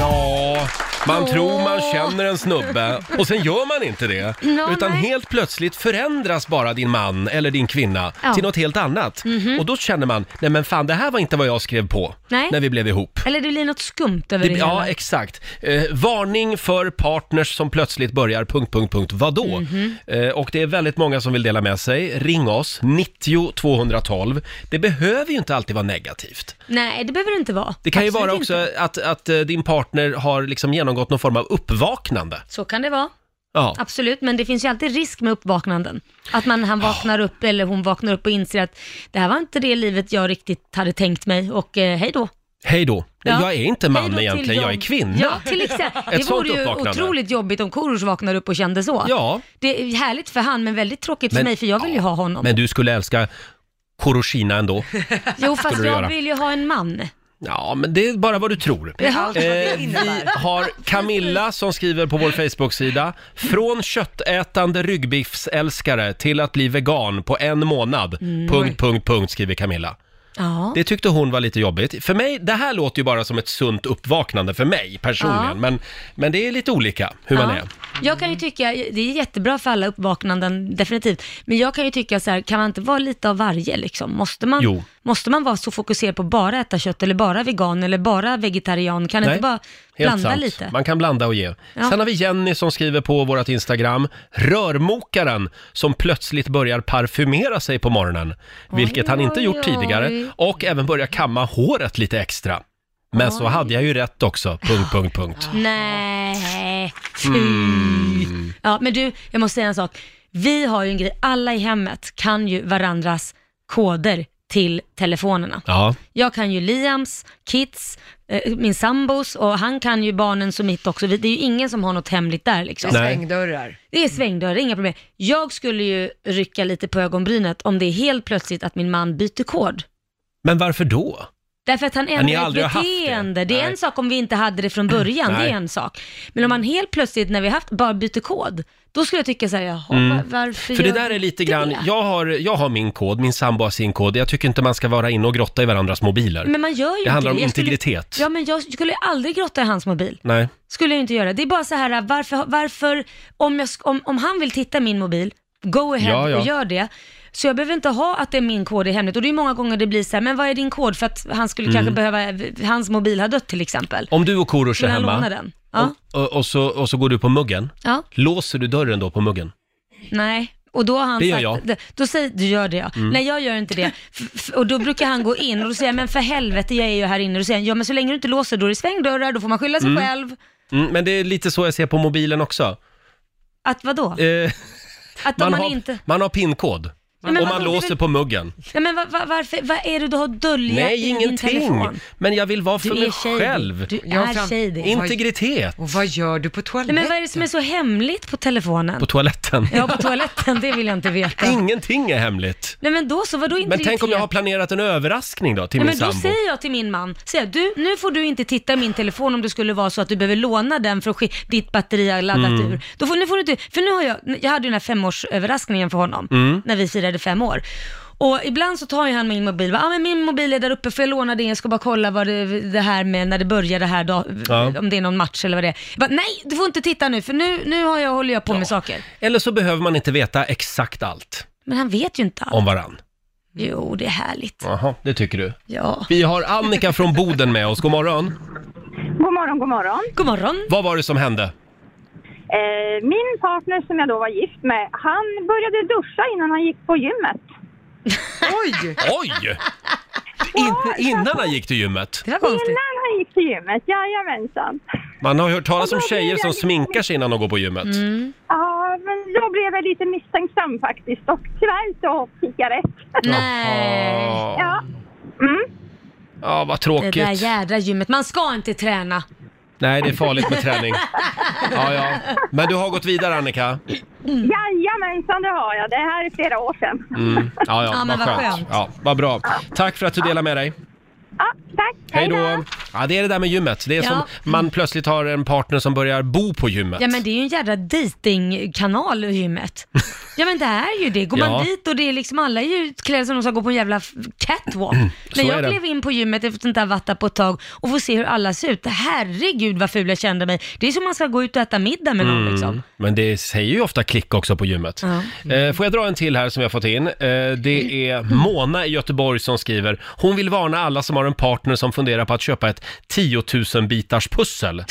Ja, man tror man känner en snubbe och sen gör man inte det.
Ja,
utan
nej.
helt plötsligt förändras bara din man eller din kvinna
Ja. Mhm.
till något helt annat. Och då känner man, nej men fan det här var inte vad jag skrev på
Nej.
när vi blev ihop.
Eller det blir något skumt över det,
Det,
hela.
ja, exakt. Eh, varning för partners som plötsligt börjar... Punkt, punkt, punkt, vadå?
Mhm.
Eh, och det är väldigt många som vill dela med sig. Ring oss, 90 212. Det behöver ju inte alltid vara negativt.
Nej, det behöver det inte vara.
Det kan ju
Absolut
vara
inte.
också att, att eh, din partner har liksom genomgått någon form av uppvaknande.
Så kan det vara.
Ja.
Absolut, men det finns ju alltid risk med uppvaknanden. Att man, han vaknar upp eller hon vaknar upp och inser att det här var inte det livet jag riktigt hade tänkt mig och eh, hej då.
Hej då.
Ja.
Jag är inte man
Hej då till
egentligen, jag
dem.
är kvinna.
Ja, till exempel.
Ett
Det
sånt
vore ju
uppvaknande.
otroligt jobbigt om Korosh vaknar upp och kände så.
Ja.
Det är härligt för han, men väldigt tråkigt för
Men-
mig, för jag vill ju ha honom.
Men du skulle älska Koroshina ändå.
jo, fast
skulle du
jag
göra.
vill ju ha en man.
Ja, men det är bara vad du tror.
allt vad det
Eh,
innebär.
Har Camilla som skriver på vår Facebook-sida Från köttätande
Mm.
ryggbiffsälskare till att bli vegan på en månad. Punkt, punkt, punkt skriver Camilla.
Ja.
Det tyckte hon var lite jobbigt. För mig, det här låter ju bara som ett sunt uppvaknande för mig personligen.
Ja.
Men, men det är lite olika hur man
Ja.
är.
Jag kan ju tycka, det är jättebra för alla uppvaknanden, definitivt. Men jag kan ju tycka så här, kan man inte vara lite av varje liksom? Måste man,
Jo.
måste man vara så fokuserad på att bara äta kött eller bara vegan eller bara vegetarian? Kan inte bara
helt
blanda
sant.
lite?
Man kan blanda och ge.
Ja.
Sen har vi Jenny som skriver på vårt Instagram, rörmokaren som plötsligt börjar parfymera sig på morgonen, vilket han inte
oj,
gjort
oj.
tidigare, och även börjar kamma håret lite extra. Men så hade jag ju rätt också, punkt, punkt, punkt.
Nej, fy.
Mm.
Ja, men du, jag måste säga en sak. Vi har ju en grej, alla i hemmet kan ju varandras koder till telefonerna.
Ja,
Jag kan ju Liams, Kits, eh, min sambos och han kan ju barnens och mitt också. Vi- Det är ju ingen som har något hemligt där liksom.
Nej.
Svängdörrar.
Det är svängdörrar, inga problem. Jag skulle ju rycka lite på ögonbrynet om det är helt plötsligt att min man byter kod.
men varför då?
Därför att han
ni
ändrar ett
aldrig har haft
beteende.
det.
Det, är
Nej.
en sak om vi inte hade det från början, det
Nej.
är en sak. Men om man helt plötsligt när vi haft, bara byter kod, då skulle jag tycka såhär, jaha,
Mm.
va- varför
För det
gör
där är
vi
lite grann, jag har, jag har min kod, min sambo har sin kod. Jag tycker inte man ska vara inne och grotta i varandras mobiler.
Men man gör ju
Det
inte
handlar om
Jag skulle-
integritet.
Ja, men jag skulle aldrig grotta i hans mobil.
Nej.
Skulle jag inte göra. Det är bara så här, varför, varför om, jag, sk- om, om han vill titta i min mobil, go ahead
Ja, ja.
och gör det. Så jag behöver inte ha att det är min kod i hemligt. Och det är många gånger det blir så här, men vad är din kod? För att han skulle
Mm.
kanske behöva, hans mobil har dött till exempel.
Om du och Korosh är
Vill han låna
hemma
den? Ja.
och, och, så, och så går du på muggen,
ja.
låser du dörren då på muggen?
Nej. Och då har han
Det gör
sagt,
jag. Mm.
Då säger, du gör det ja. Nej jag gör inte det. F- f- och då brukar han gå in och då säger jag, men för helvete jag är ju här inne. Då säger han, ja men så länge du inte låser då är det svängdörrar, då får man skylla sig själv.
Mm, men det är lite så jag ser på mobilen också.
Att vadå?
Eh,
Att om
man,
man
har,
inte...
man har pinkod.
Nej, men
och man
vadå? Det är
låser
väl-
på muggen.
Nej men va, va, varför, vad är det du har att dölja
Nej,
i din
ingenting.
telefon?
Men jag vill vara för
Du
mig
är tjej.
själv.
Du
Jag
är
fram-
tjej det.
In-
Integritet
Och vad gör du på
Nej
toaletten?
men vad är det som är så hemligt på telefonen?
på toaletten.
ja, på toaletten, det vill jag inte veta.
Ingenting är hemligt.
Nej men då så, vadå
Men
integritet?
tänk om jag har planerat en överraskning då till
Nej,
min
men då
sambo.
säger jag till min man, säger jag, du, nu får du inte titta i min telefon om det skulle vara så att du behöver låna den för att sk- ditt batteri har laddat
Mm.
ur. Då får, nu får du inte, för nu har jag, jag hade ju den här femårsöverraskningen för honom
Mm.
när vi firade fem år. Och ibland så tar ju han min mobil, va, ah, men min mobil är där uppe, får jag låna den? Jag ska bara kolla vad det, det här med, när det börjar det här, då,
Ja.
om det är någon match eller vad det är. Jag bara, Nej, du får inte titta nu, för nu, nu har jag, håller jag på med saker.
Eller så behöver man inte veta exakt allt
Men han vet ju inte allt.
om varann.
Jo, det är härligt.
Jaha, det tycker du.
Ja.
Vi har Annika från Boden med oss. God morgon.
God morgon, god morgon.
God morgon.
Vad var det som hände?
Eh, min partner som jag då var gift med, han började duscha innan han gick på gymmet.
Oj!
Oj! In, innan han gick till gymmet.
Det var konstigt.
Innan han gick till gymmet, jajamensan.
Man har hört talas om
Och då blir
tjejer
jag
som
lite-
sminkar sig innan de går på gymmet.
Ja, men då blev jag lite misstänksam faktiskt och tyvärr så fick jag rätt.
Nej.
Ja.
Ja. Mm.
ja, vad
Det
tråkigt.
där jädra gymmet, man ska inte träna.
Nej, det är farligt med träning. Ja, ja. Men du har gått vidare Annika?
Jajamensan, det har jag. Det här är flera år sedan.
Mm. Ja, ja,
Ja,
vad
men vad
skönt.
skönt.
Ja, vad bra. Tack för att du delar med dig.
Ja, tack.
Hej då! Ja, det är det där med gymmet. Det är
Ja.
som man plötsligt har en partner som börjar bo på gymmet.
Ja men det är ju en jädra datingkanal eh, gymmet. Ja men det är ju det. Går
Ja.
man dit och det är liksom alla är ju utklädda som de ska gå på en jävla f- catwalk. När
Mm, Så är
jag
det.
klev in på gymmet efter att inte ha varit där på ett tag och får se hur alla ser ut. Herregud vad ful jag kände mig. Det är som man ska gå ut och äta middag med
Mm.
någon liksom.
Men det säger ju ofta klick också på gymmet.
Ja.
Eh, får jag dra en till här som jag fått in? Eh, det är Mona i Göteborg som skriver. Hon vill varna alla som har en partner som funderar på att köpa ett 10 000 bitars pussel.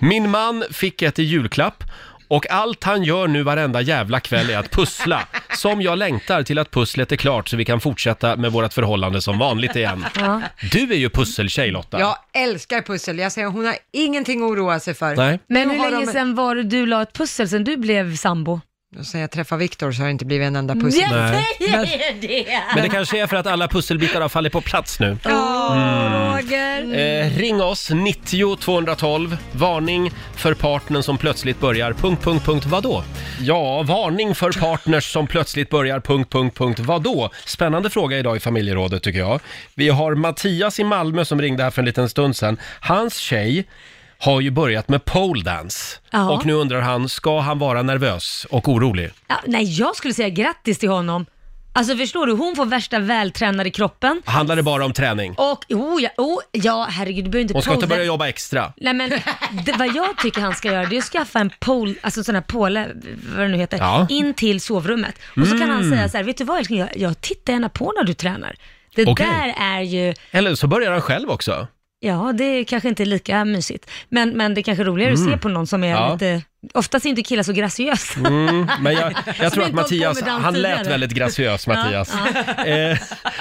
Min man fick ett i julklapp. Och allt han gör nu varenda jävla kväll är att pussla. Som jag längtar till att pusslet är klart så vi kan fortsätta med vårt förhållande som vanligt igen.
Ja.
Du är ju pusseltjej Lotta.
Jag älskar pussel. Jag säger hon har ingenting att oroa sig för.
Nej.
Men
Då
hur
har
länge
de-
sedan var det du la ett pussel sen du blev sambo?
Och sen jag träffade Viktor så har det inte blivit en enda
Jag
pussel.
säger det!
Men det kanske är för att alla pusselbitar har fallit på plats nu.
Roger.
Eh, ring oss, 90 212. Varning för partnern som plötsligt börjar... Punkt, punkt, punkt, vadå? Ja, varning för partners som plötsligt börjar... Punkt, punkt, punkt, vadå? Spännande fråga idag i familjerådet tycker jag. Vi har Mattias i Malmö som ringde här för en liten stund sedan. Hans tjej har ju börjat med pole dance.
Ja.
Och nu undrar han, ska han vara nervös och orolig?
Ja, nej, jag skulle säga grattis till honom. Alltså förstår du, hon får värsta vältränade kroppen.
Handlar det bara om träning?
Och, oh ja, oh, ja herregud, du behöver inte
Hon ska inte
poda-
börja jobba extra.
Nej men, det, vad jag tycker han ska göra det är att skaffa en pol, alltså en sån här påle, vad det nu heter,
Ja.
in till sovrummet. Och så kan han
Mm.
säga så här, vet du vad älskling, jag, jag tittar gärna på när du tränar. Det
Okej.
där är ju,
Eller så börjar han själv också.
ja det är kanske inte lika mysigt, men, men det är kanske roligare att
Mm.
se på någon som är
Ja.
lite, oftast är inte killar så graciösa.
Mm, men jag,
Som
jag tror
inte
att
har
Mattias,
på med dans
han lät
tidigare.
väldigt graciös
Ja,
Mattias.
ja.
Eh,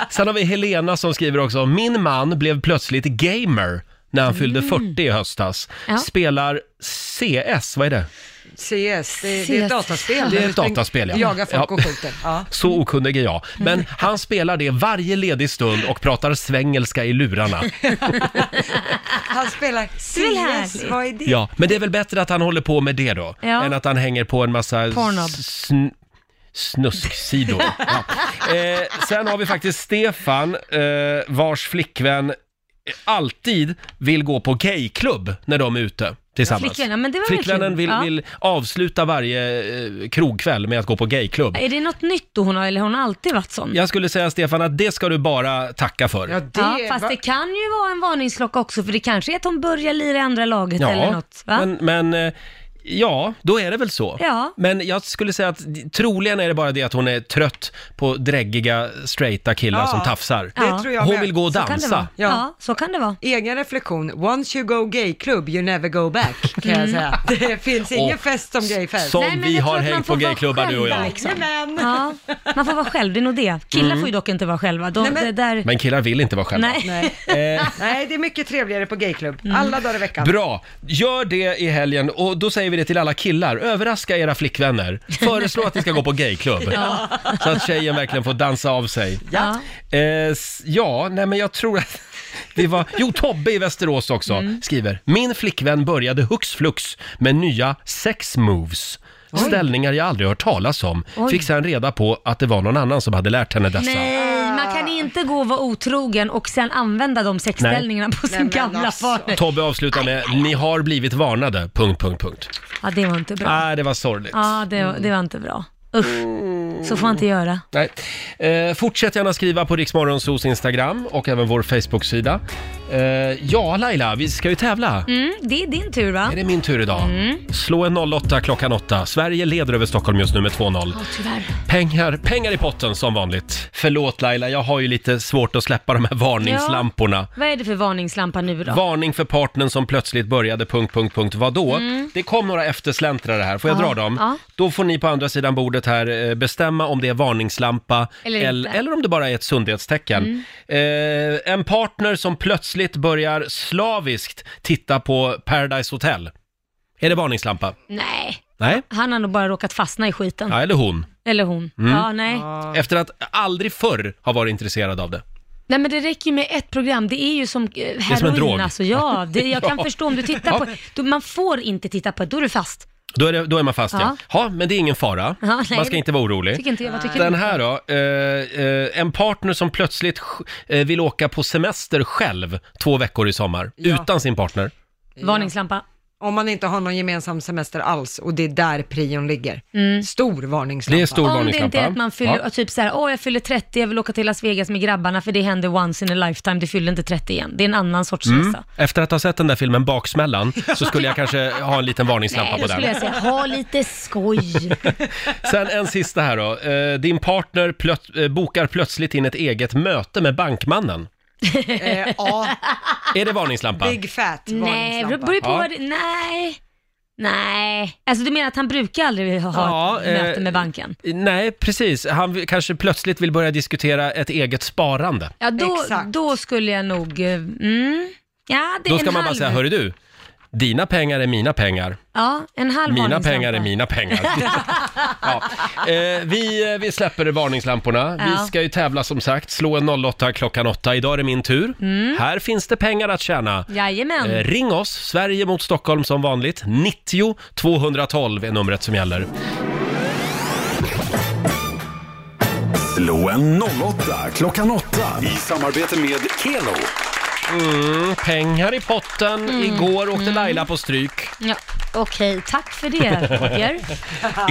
sen har vi Helena som skriver också, min man blev plötsligt gamer när han fyllde
Mm.
40 i höstas.
Ja.
Spelar CS, vad är det?
CS, det, det är
CS.
ett dataspel.
Det är ett dataspel, ja.
Jagar folk
Ja.
och skjuter. Ja.
Så okunnig är jag.
Mm.
Men han spelar det varje ledig stund och pratar svengelska i lurarna.
Han spelar CS,
härligt.
vad är det?
Ja, men det är väl bättre att han håller på med det då,
Ja.
än att han hänger på en massa
Pornhub.
s- sn- snusksidor. ja. eh, sen har vi faktiskt Stefan, eh, vars flickvän eh, alltid vill gå på gayklubb när de är ute tillsammans.
Flickvännen, men det var väl
Flickvännen
kul.
vill,
Ja.
vill avsluta varje eh, krogkväll med att gå på gayklubb.
Är det något nytt då hon har, eller har hon alltid varit sån?
Jag skulle säga Stefan att det ska du bara tacka för.
Ja, fast det kan ju vara en varningsklocka också, för det kanske är att hon börjar lira i andra laget eller något. Va?
Men, men eh, ja, då är det väl så.
Ja.
Men jag skulle säga att troligen är det bara det att hon är trött på dräggiga, straighta killar
Ja,
som tafsar.
Det tror jag
hon
med.
vill gå och dansa.
Ja. så kan det vara.
Egen reflektion, once you go gay club, you never go back, kan jag
Mm.
säga. Det finns ingen
Och
fest som gayfest.
som Nej, men vi jag har tror att man hängt på får vara gayklubbar, du och jag. själv där, liksom.
Jajamän.
Ja, man får vara själv, det är nog det. Killar
Mm.
får ju dock inte vara själva. De,
Nej, men-
det där...
Men killar vill inte vara själva.
Nej.
Eh,
Nej, det är mycket trevligare på gayklubb.
Mm.
Alla dagar i veckan.
Bra! Gör det i helgen och då säger vi det till alla killar. Överraska era flickvänner. Föreslå att ni ska gå på gayklubb.
Ja.
Så att tjejen verkligen får dansa av sig.
Ja.
Eh, s- ja, nej men jag tror att det var... Jo, Tobbe i Västerås också
Mm.
skriver. Min flickvän började hux flux med nya sex moves. Ställningar jag aldrig hört talas om.
Oj.
Fick sen reda på att det var någon annan som hade lärt henne dessa.
Nej,
Alltså.
man kan inte gå och vara otrogen och sen använda de sexställningarna på sin gamla
alltså.
partner.
Tobbe avslutar med, ni har blivit varnade, punkt, punkt, punkt.
Ja, det var inte bra.
Nej, det var sorgligt.
Ja, det, det var inte bra. Usch,
Mm.
så får man inte göra.
Nej. Eh, fortsätt gärna skriva på Riksmorgonsos Instagram och även vår Facebook-sida. Eh, ja, Laila, vi ska ju tävla.
Mm, det är din tur va?
Är det min tur idag?
Mm.
Slå en 08 klockan 8. Sverige leder över Stockholm just nu med 2-0.
Ja, tyvärr.
Pengar, pengar i potten som vanligt. Förlåt Laila, jag har ju lite svårt att släppa de här varningslamporna.
Vad är det för varningslampa nu då?
Varning för partnern som plötsligt började... Punkt, punkt, punkt. Vadå?
Mm.
Det kom några eftersläntrare här, får jag
Ja,
dra dem?
ja.
Då får ni på andra sidan bordet här eh, bestämma om det är varningslampa
Eller
eller,
inte. Mm.
eller om det bara är ett sundhetstecken. Eh, en partner som plötsligt börjar slaviskt titta på Paradise Hotel. Är det varningslampa?
Nej,
Nej?
han har nog bara råkat fastna i skiten.
Ja, eller hon.
Eller hon.
Mm.
Ja, nej.
Efter att aldrig förr har varit intresserad av det.
Nej men det räcker ju med ett program, det är ju som eh, heroin
är som en drog.
alltså. Ja, det, jag kan
Ja.
förstå om du tittar på, då, man får inte titta på det, då är du fast.
Då är, det, då är man fast ja.
Ja.
Ja, men det är ingen fara.
Ja, nej,
man ska
det-
inte vara orolig.
tycker inte jag. Vad tycker
Den
du?
här då, eh, eh, en partner som plötsligt sj- eh, vill åka på semester själv två veckor i sommar, utan sin partner.
Varningslampa.
Om man inte har någon gemensam semester alls och det är där prion ligger.
Mm.
Stor varningslampa.
Det är stor
Om det inte är
varningslampa.
att man fyller,
Ja.
typ såhär, åh jag fyller 30, jag vill åka till Las Vegas med grabbarna för det händer once in a lifetime, det fyller inte 30 igen. Det är en annan sorts
Mm.
resa.
Efter att ha sett den där filmen Baksmällan så skulle jag kanske ha en liten varningslampa
Nej,
på
då
den.
skulle jag säga, ha lite skoj.
Sen en sista här då. Eh, din partner plöt- eh, bokar plötsligt in ett eget möte med bankmannen. Är det varningslampa?
Eh, Big fat
nej, det
varningslampa.
beror ju på
Ja.
vad det, nej. Nej, alltså du menar att han brukar aldrig ha
Ja,
ett möte
eh,
med banken?
Nej, precis. Han vill- kanske plötsligt vill börja diskutera ett eget sparande.
Ja, då, då skulle jag nog... eh, Mm, ja, det är
Då ska man
en
bara
halv.
säga, hörru du, dina pengar är mina pengar.
Ja, en halv
Mina
varningslampa.
pengar är mina pengar. ja. eh, vi, eh, vi släpper varningslamporna.
Ja.
Vi ska ju tävla som sagt. Slå en 08 klockan 8. Idag är det min tur.
Mm.
Här finns det pengar att tjäna.
Jajamän.
Eh, ring oss, Sverige mot Stockholm som vanligt. 90 212 är numret som gäller.
Slå en 08 klockan 8 i samarbete med Keno.
Mm.
Mm, pengar i potten. Igår åkte Laila på stryk.
Ja. Okej, tack för det Roger.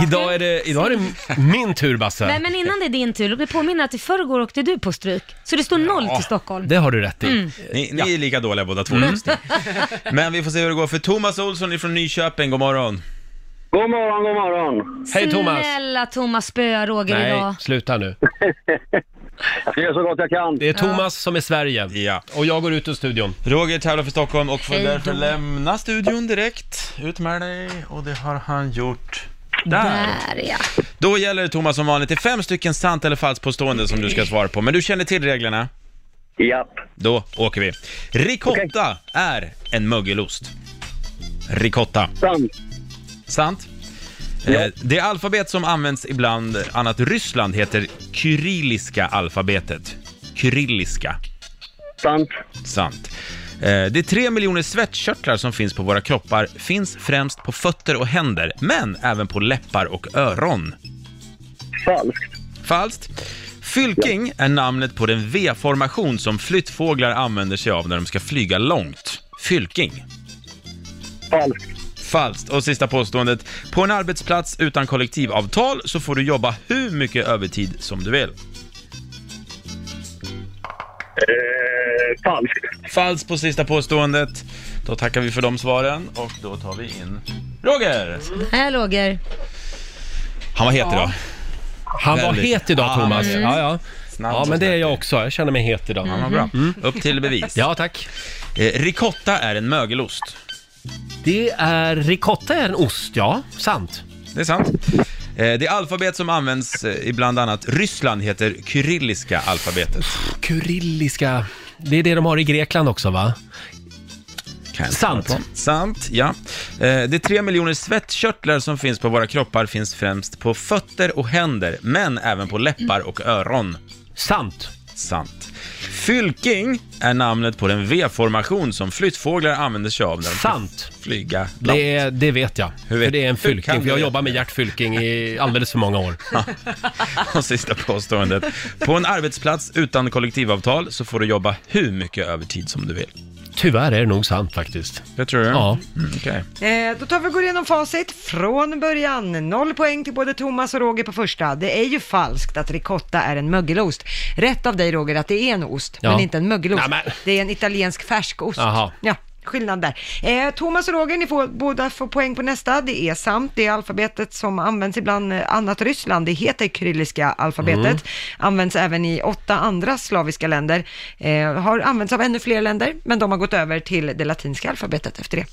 Idag är det, idag är det min tur Basse.
Nej men innan det är din tur, låt mig påminna att i förrgår åkte du på stryk. Så det står noll till Stockholm.
Det har du rätt i.
Mm.
Ni, ni är lika dåliga båda två just nu. Men vi får se hur det går för Thomas Olsson från Nyköping, god morgon.
God morgon, god morgon.
Snälla Thomas, spöa Roger idag.
sluta nu.
Jag ska göra så gott jag kan.
Det är Thomas som är Sverige.
Ja.
Och jag går ut ur studion.
Roger tävlar för Stockholm och får
Hej då.
därför lämna studion direkt. Ut med dig, och det har han gjort. Där.
Där ja.
Då gäller det Thomas som vanligt, det är fem stycken sant eller falskt påståenden som du ska svara på, men du känner till reglerna.
Japp.
Då åker vi. Ricotta är en mögelost. Ricotta.
Sant.
Sant? Eh, Det alfabet som används ibland annat Ryssland heter kyrilliska alfabetet. Kyrilliska.
Sant.
Sant. Eh, De tre miljoner svettkörtlar som finns på våra kroppar finns främst på fötter och händer, men även på läppar och öron.
Falskt.
Falskt. Fylking är namnet på den V-formation som flyttfåglar använder sig av när de ska flyga långt. Fylking.
Falskt.
Falskt. Och sista påståendet. På en arbetsplats utan kollektivavtal så får du jobba hur mycket övertid som du vill.
Eh, falskt.
Falskt på sista påståendet. Då tackar vi för de svaren och då tar vi in Roger!
Här Roger.
Han var het idag.
Han var
Väldigt. Ah,
het idag
Ja,
Thomas.
han
Ja, ja.
Snabb
ja,
som
men det är
snäpp.
jag också. Jag känner mig het idag.
Han var bra. Mm. Upp till bevis.
Ja, tack.
Eh, ricotta är en mögelost.
Det är ricotta är en ost, ja. Sant.
Det är sant. Eh, Det alfabet som används eh, i bland annat Ryssland heter kyrilliska alfabetet.
Kyrilliska. Det är det de har i Grekland också, va?
Kan jag
Sant.
svara på. Sant, ja. Eh, De tre miljoner svettkörtlar som finns på våra kroppar finns främst på fötter och händer, men även på läppar och öron.
Sant.
Sant. Fylking är namnet på den V-formation som flyttfåglar använder sig av när de ska
Sant.
flyga. långt.
Det, är, det vet jag.
Hur vet-
För det är en
hur kan
fylking.
du
För jag
veta
jobbar med Gert Fylking i alldeles för många år.
Och sista påståendet. På en arbetsplats utan kollektivavtal så får du jobba hur mycket övertid som du vill.
Tyvärr är det nog sant faktiskt.
Det tror du?
Ja.
Mm, okej.
Eh, då tar vi och går igenom facit från början. Noll poäng till både Thomas och Roger på första. Det är ju falskt att ricotta är en mögelost. Rätt av dig Roger att det är en ost,
Ja.
men inte en mögelost.
Nej, men-
Det är en italiensk färskost.
Jaha.
Ja, skillnad där. Eh, Thomas och Roger, ni får båda får poäng på nästa. Det är sant, det är alfabetet som används ibland eh, annat Ryssland. Det heter kyrilliska alfabetet.
Mm.
Används även i åtta andra slaviska länder. Eh, har använts av ännu fler länder, men de har gått över till det latinska alfabetet efter det.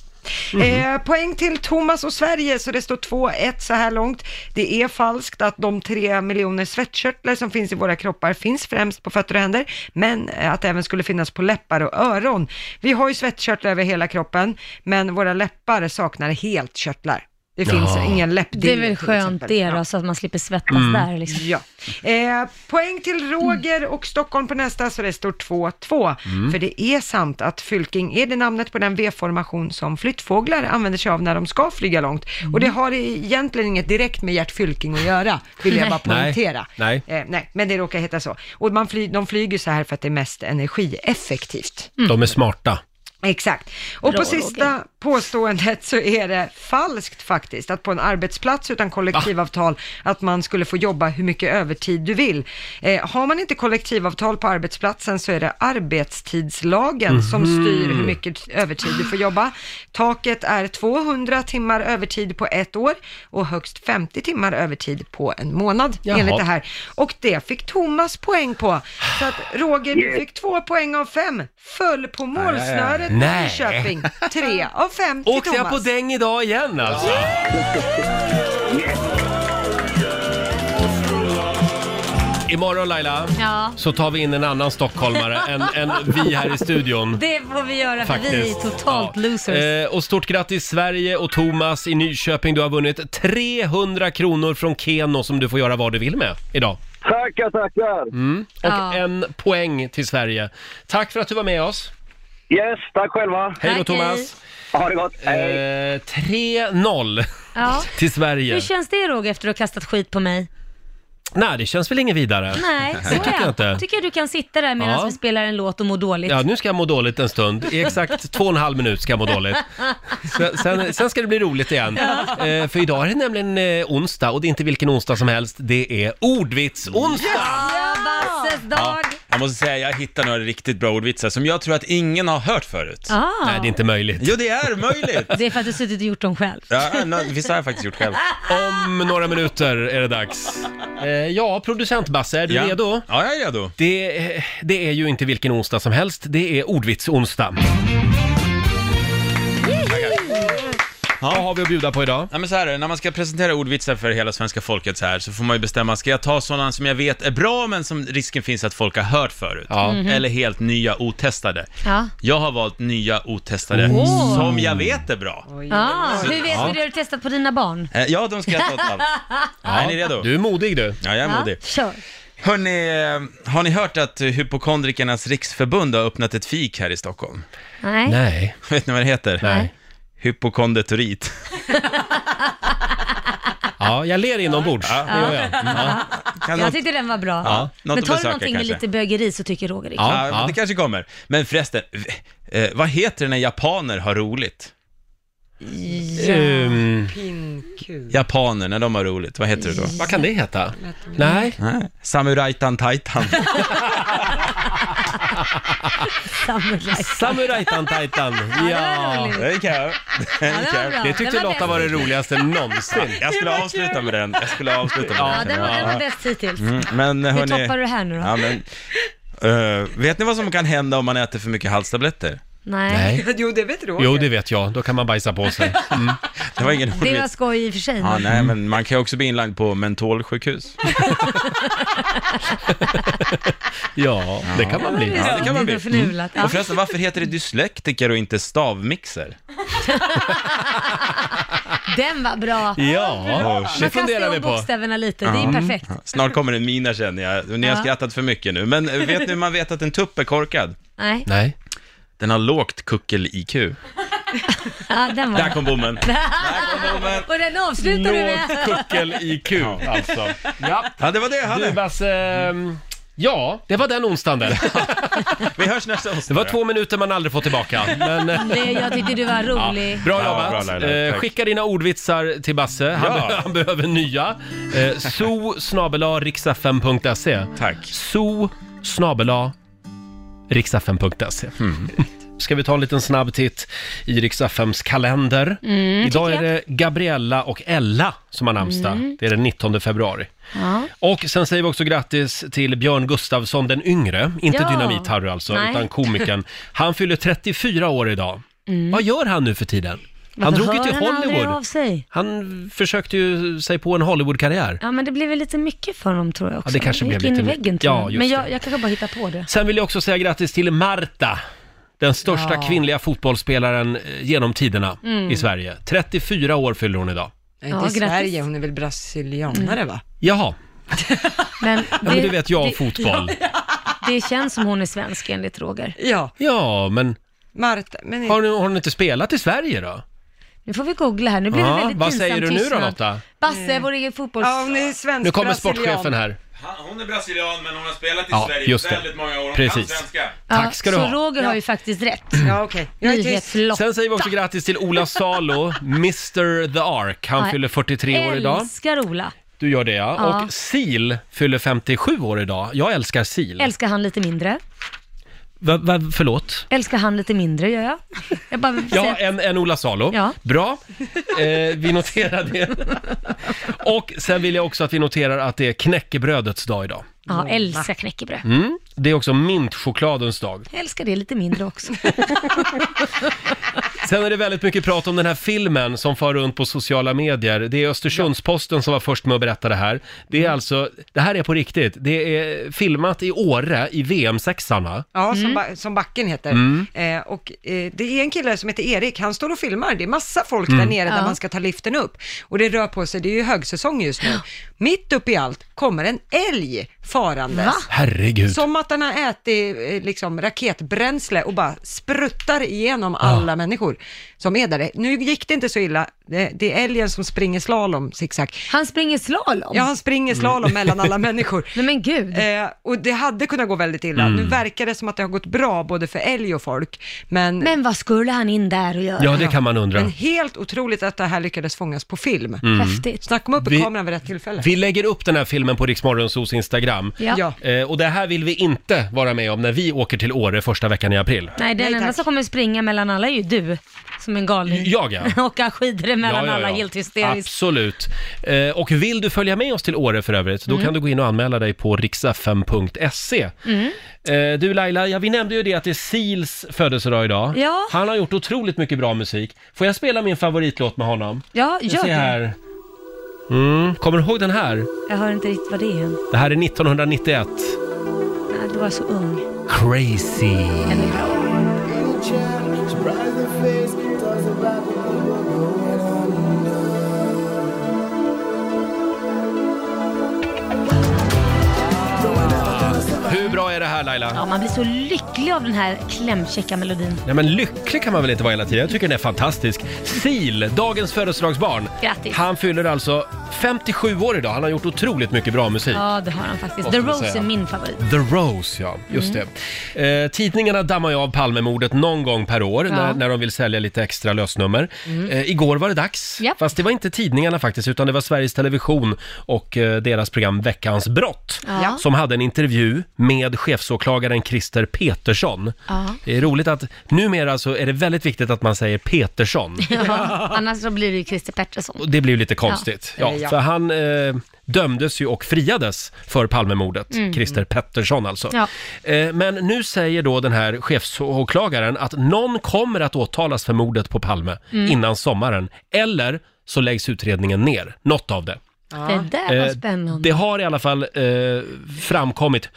Eh, poäng till Thomas och Sverige, så det står 2-1 så här långt. Det är falskt att de tre miljoner svettkörtlar som finns i våra kroppar finns främst på fötter och händer, men eh, att det även skulle finnas på läppar och öron. Vi har ju svettkörtlar över hela kroppen, men våra läppar saknar helt körtlar. Det finns
Ja.
ingen läppdel.
Det är väl
till
skönt
exempel.
det
Ja.
då, så att man slipper svettas
Mm.
där liksom.
Ja. Eh, poäng till Roger och Stockholm på nästa, så det står 2-2.
Mm.
För det är sant att fylking är det namnet på den V-formation som flyttfåglar använder sig av när de ska flyga långt. Och
Mm.
det har egentligen inget direkt med Gert Fylking att göra, vill jag bara
Nej.
poängtera.
Nej.
Eh, nej, men det råkar heta så. Och man fly, de flyger så här för att det är mest energieffektivt.
Mm.
De är smarta.
Exakt. Och
Bra,
på sista påståendet så är det falskt faktiskt, att på en arbetsplats utan kollektivavtal, att man skulle få jobba hur mycket övertid du vill. Eh, har man inte kollektivavtal på arbetsplatsen så är det arbetstidslagen som styr hur mycket övertid du får jobba. Taket är 200 timmar övertid på ett år och högst 50 timmar övertid på en månad
Jaha.
enligt det här. Och det fick Thomas poäng på. Så att Roger, du fick två poäng av fem, föll på målsnöret i
Nej.
Nyköping. Tre av fem till
Åkte jag på
Thomas.
däng idag igen alltså? Imorgon Laila,
Ja.
så tar vi in en annan stockholmare än, än vi här i studion.
Det får vi göra för
Faktiskt.
vi är totalt
Ja.
losers.
Eh, och stort grattis Sverige och Thomas i Nyköping. Du har vunnit 300 kronor från Keno som du får göra vad du vill med idag.
Tackar, tackar.
Och
Ja.
en poäng till Sverige. Tack för att du var med oss.
Yes, tack själva.
Hej då
Tack,
Thomas.
Ha det gott.
Eh,
Hej.
3-0
ja.
till
Hur
Sverige.
känns det Roger efter att du har kastat skit på mig?
Nej, det känns väl inget vidare.
Nej, så
det tycker jag inte.
tycker jag du kan sitta där medan
Ja.
vi spelar en låt och må dåligt.
Ja, nu ska jag må dåligt en stund. I exakt två och en halv minut ska jag må dåligt. Sen- Sen, sen ska det bli roligt igen. Eh, för idag är det nämligen eh, onsdag och det är inte vilken onsdag som helst. Det är ordvits-onsdag!
Ja, Basses dag!
Jag måste säga, jag hittar några riktigt bra ordvitsar som jag tror att ingen har hört förut.
Ah.
Nej, det är inte möjligt.
Jo, det är möjligt!
Det är för att du suttit och gjort dem själv.
Ja, no, vissa har jag faktiskt gjort själv.
Om några minuter är det dags. Eh, ja, producent Basse, är du
ja.
redo?
Ja, jag är redo.
Det, eh, det är ju inte vilken onsdag som helst, det är ordvitsonsdag. Vad har vi att bjuda på idag?
Ja, men så här är det, när man ska presentera ordvitsar för hela svenska folket så här så får man ju bestämma, ska jag ta sådana som jag vet är bra men som risken finns att folk har hört förut?
Ja.
Eller helt nya otestade?
Ja.
Jag har valt nya otestade som jag vet är bra.
Ah, hur vet du det? Har du testat på dina barn?
Eh, Ja, de ska jag ta åt allt. Ja, är ni redo?
Du är modig du.
Ja, jag är modig.
Kör.
Hörrni, eh, har ni hört att eh, Hypokondrikernas riksförbund har öppnat ett fik här i Stockholm?
Nej.
Nej.
Vet ni vad det heter?
Nej.
Hypokonditorit.
Ja, jag ler inombords. Ja, det gör jag.
Kan
Jag
någon-
tyckte den var bra.
Ja, något
Men tar
att
du
besöka
någonting
kanske.
med lite bögeri så tycker Roger det.
Ja.
Ja, men det kanske kommer. Men förresten, v- eh, vad heter det när japaner har roligt?
Ehm,
Pinkul.
Japaner, när de har roligt, vad heter det då?
vad kan det heta? Nej.
Nej, Samurajtan Taitan.
Samuraj.
Samurajtan Titan. Ja.
roligt.
Det kan jag.
Ja,
Det
den var
kan
bra.
jag.
Det tyckte
Den
Lotta var det
bäst.
roligaste någonsin.
Jag skulle avsluta med den. Jag skulle avsluta med
Ja, den var, den var bäst hittills.
Mm, Men
Hur
hörni,
toppar du det här nu då?
ja, men, eh, vet ni vad som kan hända om man äter för mycket halstabletter?
Nej.
Nej.
Jo, det vet Roger.
Jo, det vet jag. Då kan man bajsa på sig.
Det var ingen
Det var
ordvits.
skoj i och för sig.
Ja, nej, men man kan ju också bli inlagd på mentolsjukhus.
Ja, det kan man bli.
Ja, det kan man bli. Mm.
Förnulat. Ja.
Och förresten, varför heter det dyslektiker och inte stavmixer?
Den var bra.
Ja, det
Man kastar
funderar vi
om
på.
bokstäverna lite, det är ju perfekt.
Snart kommer en mina känner jag. Ni har
Ja.
skrattat för mycket nu. Men eh, vet ni hur man vet att en tupp är korkad?
Nej,
Nej.
Den har lågt kuckel-IQ.
ja, den var
Där
bra.
kom bommen. Där kom bommen.
Och den avslutar du med.
Lågt kuckel-IQ alltså. Ja.
Ja, det var det jag
Du
hade.
Basse, ehm, ja, det var den onsdagen där.
Vi hörs nästa onsdag.
Det var två minuter man aldrig får tillbaka. Men, eh,
Det, jag tyckte du var rolig.
Bra
Ja,
jobbat!
bra, Laila.
eh,
Tack.
skicka dina ordvitsar till Basse, han,
Ja.
be- han behöver nya. Eh, so snabela riksfm.se
Tack.
So snabela riksfm.se E. Ska vi ta en liten snabb titt i riksfms kalender.
Mm,
Idag är det Gabriella och Ella som har namnsdag. Det är den 19 februari.
Mm. Ja.
Och sen säger vi också grattis till Björn Gustafsson den yngre, inte
Ja.
Dynamit-Harry alltså,
Nej.
utan komikern. Han fyller 34 år idag. Vad gör han nu för tiden? Han
Varför
drog ju till
Mm. hör han aldrig av
Hollywood.
sig?
Han försökte ju sig på en Hollywood-karriär.
Ja, men det blev väl lite mycket för honom tror jag också.
det kanske
gick
blev
in
lite
i
mycket.
väggen tror
Ja,
jag.
just
Men
det.
jag, jag kanske bara hittar på det.
Sen vill jag också säga grattis till Marta, den största kvinnliga fotbollsspelaren eh, genom tiderna
Mm.
i Sverige. 34 år fyller hon idag.
Nej,
Ja,
inte i
grattis. Mm.
Sverige, hon är väl brasilianare va?
Jaha,
Men
ja, men du vet jag och
det,
fotboll.
det känns som hon är svensk enligt Roger.
Ja,
Ja, men
Marta, men
har hon, har hon inte spelat i Sverige då?
Nu får vi googla här, nu blir det
Ja,
väldigt
vad
pinsam
säger du nu då,
tystnad.
Lotta?
Basse, vår egen fotbolls...
Mm. ja, hon är svensk
Nu kommer sportchefen här.
Hon är brasilian, men hon har spelat i
Ja, Sverige just det. väldigt
många år.
kan Precis. svenska. Tack ska du
så
ha.
Roger har
Ja. Mm.
ju faktiskt rätt.
Ja, okej. Jag är tyst.
Nyhetslotta.
Sen säger vi också grattis till Ola Salo, Mr. The Ark. Han
Ja,
fyller 43 år idag.
Älskar Ola.
Du gör det ja.
Ja.
Och Sil fyller 57 år idag. Jag älskar Sil.
Älskar han lite mindre.
Va, va, förlåt?
Älskar han lite mindre, gör jag. Alltså, Jag bara vill
Ja,
säga-
en, en Ola Salo.
Ja.
Bra. Eh, vi noterar det. Och sen vill jag också att vi noterar att det är knäckebrödets dag idag.
ja, älskar knäckebröd.
Mm. Det är också mintchokladens dag.
Älskar det lite mindre också.
Sen är det väldigt mycket prat om den här filmen som far runt på sociala medier. Det är Östersundsposten som var först med att berätta det här. Det är
Mm.
alltså, det här är på riktigt. Det är filmat i Åre i VM-sexan va?
Ja,
Mm.
som, ba- som backen heter.
Mm.
Eh, och eh, det är en kille som heter Erik, han står och filmar, det är massa folk
Mm.
där nere där
Ja.
man ska ta liften upp. Och det rör på sig, det är ju högsäsong just nu. Mitt upp i allt kommer en älg farandes.
Herregud.
Som man Robotarna äter eh, liksom raketbränsle och bara spruttar igenom alla människor som är där. Nu gick det inte så illa. Det, det är älgen som springer slalom, zigzag.
Han springer slalom?
Ja, han springer slalom mellan alla människor.
Nej men gud.
Eh, och det hade kunnat gå väldigt illa. Nu verkar det som att det har gått bra både för älg och folk. Men,
Men vad skulle han in där och göra?
Ja, det kan man undra.
men helt otroligt att det här lyckades fångas på film.
Mm.
Mm.
Häftigt.
Snacka om upp i
Vi-
kameran vid rätt tillfälle.
Vi lägger upp den här filmen på Riksmorgonsos Instagram.
Ja.
Ja.
Eh, och det här vill vi inte vara med om när vi åker till Åre första veckan i april.
Nej, den
Nej,
enda
tack.
som kommer springa mellan alla är ju du, som en galning.
Jag, ja.
Åka skidor mellan alla helt hysteriskt.
Absolut. Eh, och vill du följa med oss till Åre för övrigt,
Mm.
då kan du gå in och anmäla dig på riksfm.se.
Mm.
Eh, du Laila, ja, vi nämnde ju det att det är Sils födelsedag idag.
Ja.
Han har gjort otroligt mycket bra musik. Får jag spela min favoritlåt med honom?
Ja,
Ska
gör
se
det.
här. Mm, kommer du ihåg den här?
Jag hör inte riktigt vad det är än.
Det här är 1991.
Nej, Du var så ung.
Crazy. Ah, Hur bra är det här Laila?
Ja, man blir så lycklig av den här klämkäcka melodin.
Nej men lycklig kan man väl inte vara hela tiden? Jag tycker den är fantastisk. Sil, dagens födelsedagsbarn.
Grattis.
Han fyller alltså 57 år idag. Han har gjort otroligt mycket bra musik.
Ja, det har han faktiskt. The
Måste man
Rose Mm.
säga.
är min favorit.
The Rose, ja. Just det. Eh, tidningarna dammar ju av Palmemordet någon gång per år
Ja. Mm.
när, när de vill sälja lite extra lösnummer. Eh, igår var det dags,
Japp.
fast det var inte tidningarna faktiskt, utan det var Sveriges Television och eh, deras program Veckans brott,
Ja.
som hade en intervju med chefsåklagaren Christer Petersson.
Ja.
Det är roligt att numera så är det väldigt viktigt att man säger Petersson.
Ja. Annars så blir det ju Christer Pettersson.
Och Det blir ju lite konstigt. Ja.
Eller ja.
För han eh, dömdes ju och friades för Palmemordet, Christer Pettersson alltså.
Ja.
Eh, men nu säger då den här chefsåklagaren att någon kommer att åtalas för mordet på Palme innan sommaren, eller så läggs utredningen ner, något av det.
Det där var
Eh,
spännande.
Det har i alla fall eh, framkommit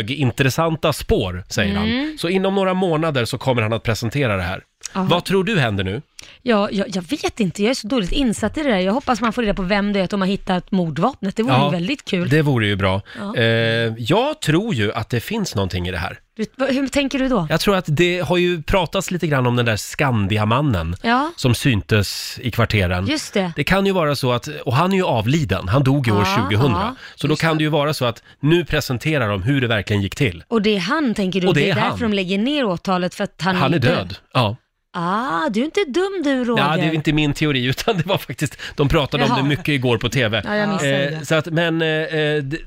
högintressanta spår, säger han. Så inom några månader så kommer han att presentera det här. Vad tror du händer nu?
Ja, jag, jag vet inte, jag är så dåligt insatt i det där. Jag hoppas man får reda på vem det är som har hittat mordvapnet. Det vore ju väldigt kul.
Det vore ju bra.
Ja.
Eh, jag tror ju att det finns någonting i det här.
Du, vad- hur tänker du då?
Jag tror att det har ju pratats lite grann om den där Skandiamannen
Ja.
som syntes i kvarteren.
Just det.
Det kan ju vara så att, och han är ju avliden, han dog ju
Ja,
år 2000.
Ah, ja.
så då kan det ju vara så att nu presenterar de hur det verkligen gick till.
Och det är han, tänker du?
Och det är
därför
han.
de lägger ner åtalet, för att han,
Han är
inte-
död. Ja.
Ah, du är inte dum du, Roger.
ja, det är inte min teori utan det var faktiskt, de pratade om
Jaha.
det mycket igår på TV.
Ja, jag missade
Eh,
det.
så att, men eh, eh, det,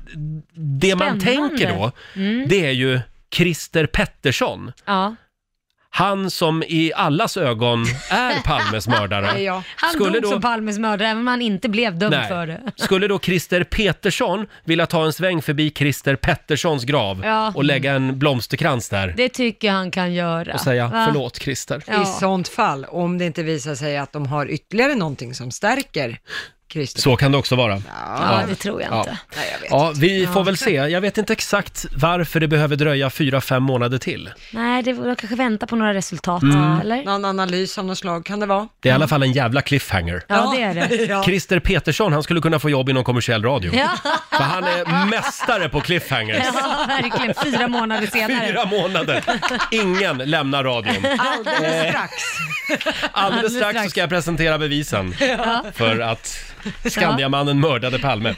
det man
Spännande. Mm.
tänker då, det är ju Christer Pettersson.
Ja.
Han som i allas ögon är Palmes mördare.
Ja.
Han
Skulle
dog
då-
som Palmes mördare, även om han inte blev dömd för det.
Skulle då Christer Petersson vilja ta en sväng förbi Christer Petterssons grav
Ja.
och lägga en blomsterkrans där
Det tycker jag han kan göra.
och säga
Va?
förlåt Christer?
I
Ja.
sånt fall, om det inte visar sig att de har ytterligare någonting som stärker Christer.
Så kan det också vara.
Ja, det tror jag inte.
Nej, jag vet.
Ja, vi får väl se. Jag vet inte exakt varför det behöver dröja fyra, fem månader till.
Nej, det jag kanske vänta på några resultat,
Mm.
eller? Ja.
Någon analys av något slag kan det vara.
Det är i alla fall en jävla cliffhanger.
det är det.
Ja.
Christer Petersson, han skulle kunna få jobb inom kommersiell radio.
Ja,
För han är mästare på cliffhangers.
ja verkligen. Fyra månader senare.
Fyra månader. Ingen lämnar radion. Eh.
Alldeles strax.
Alldeles strax så ska jag presentera bevisen för att Skandiamannen mördade Palme.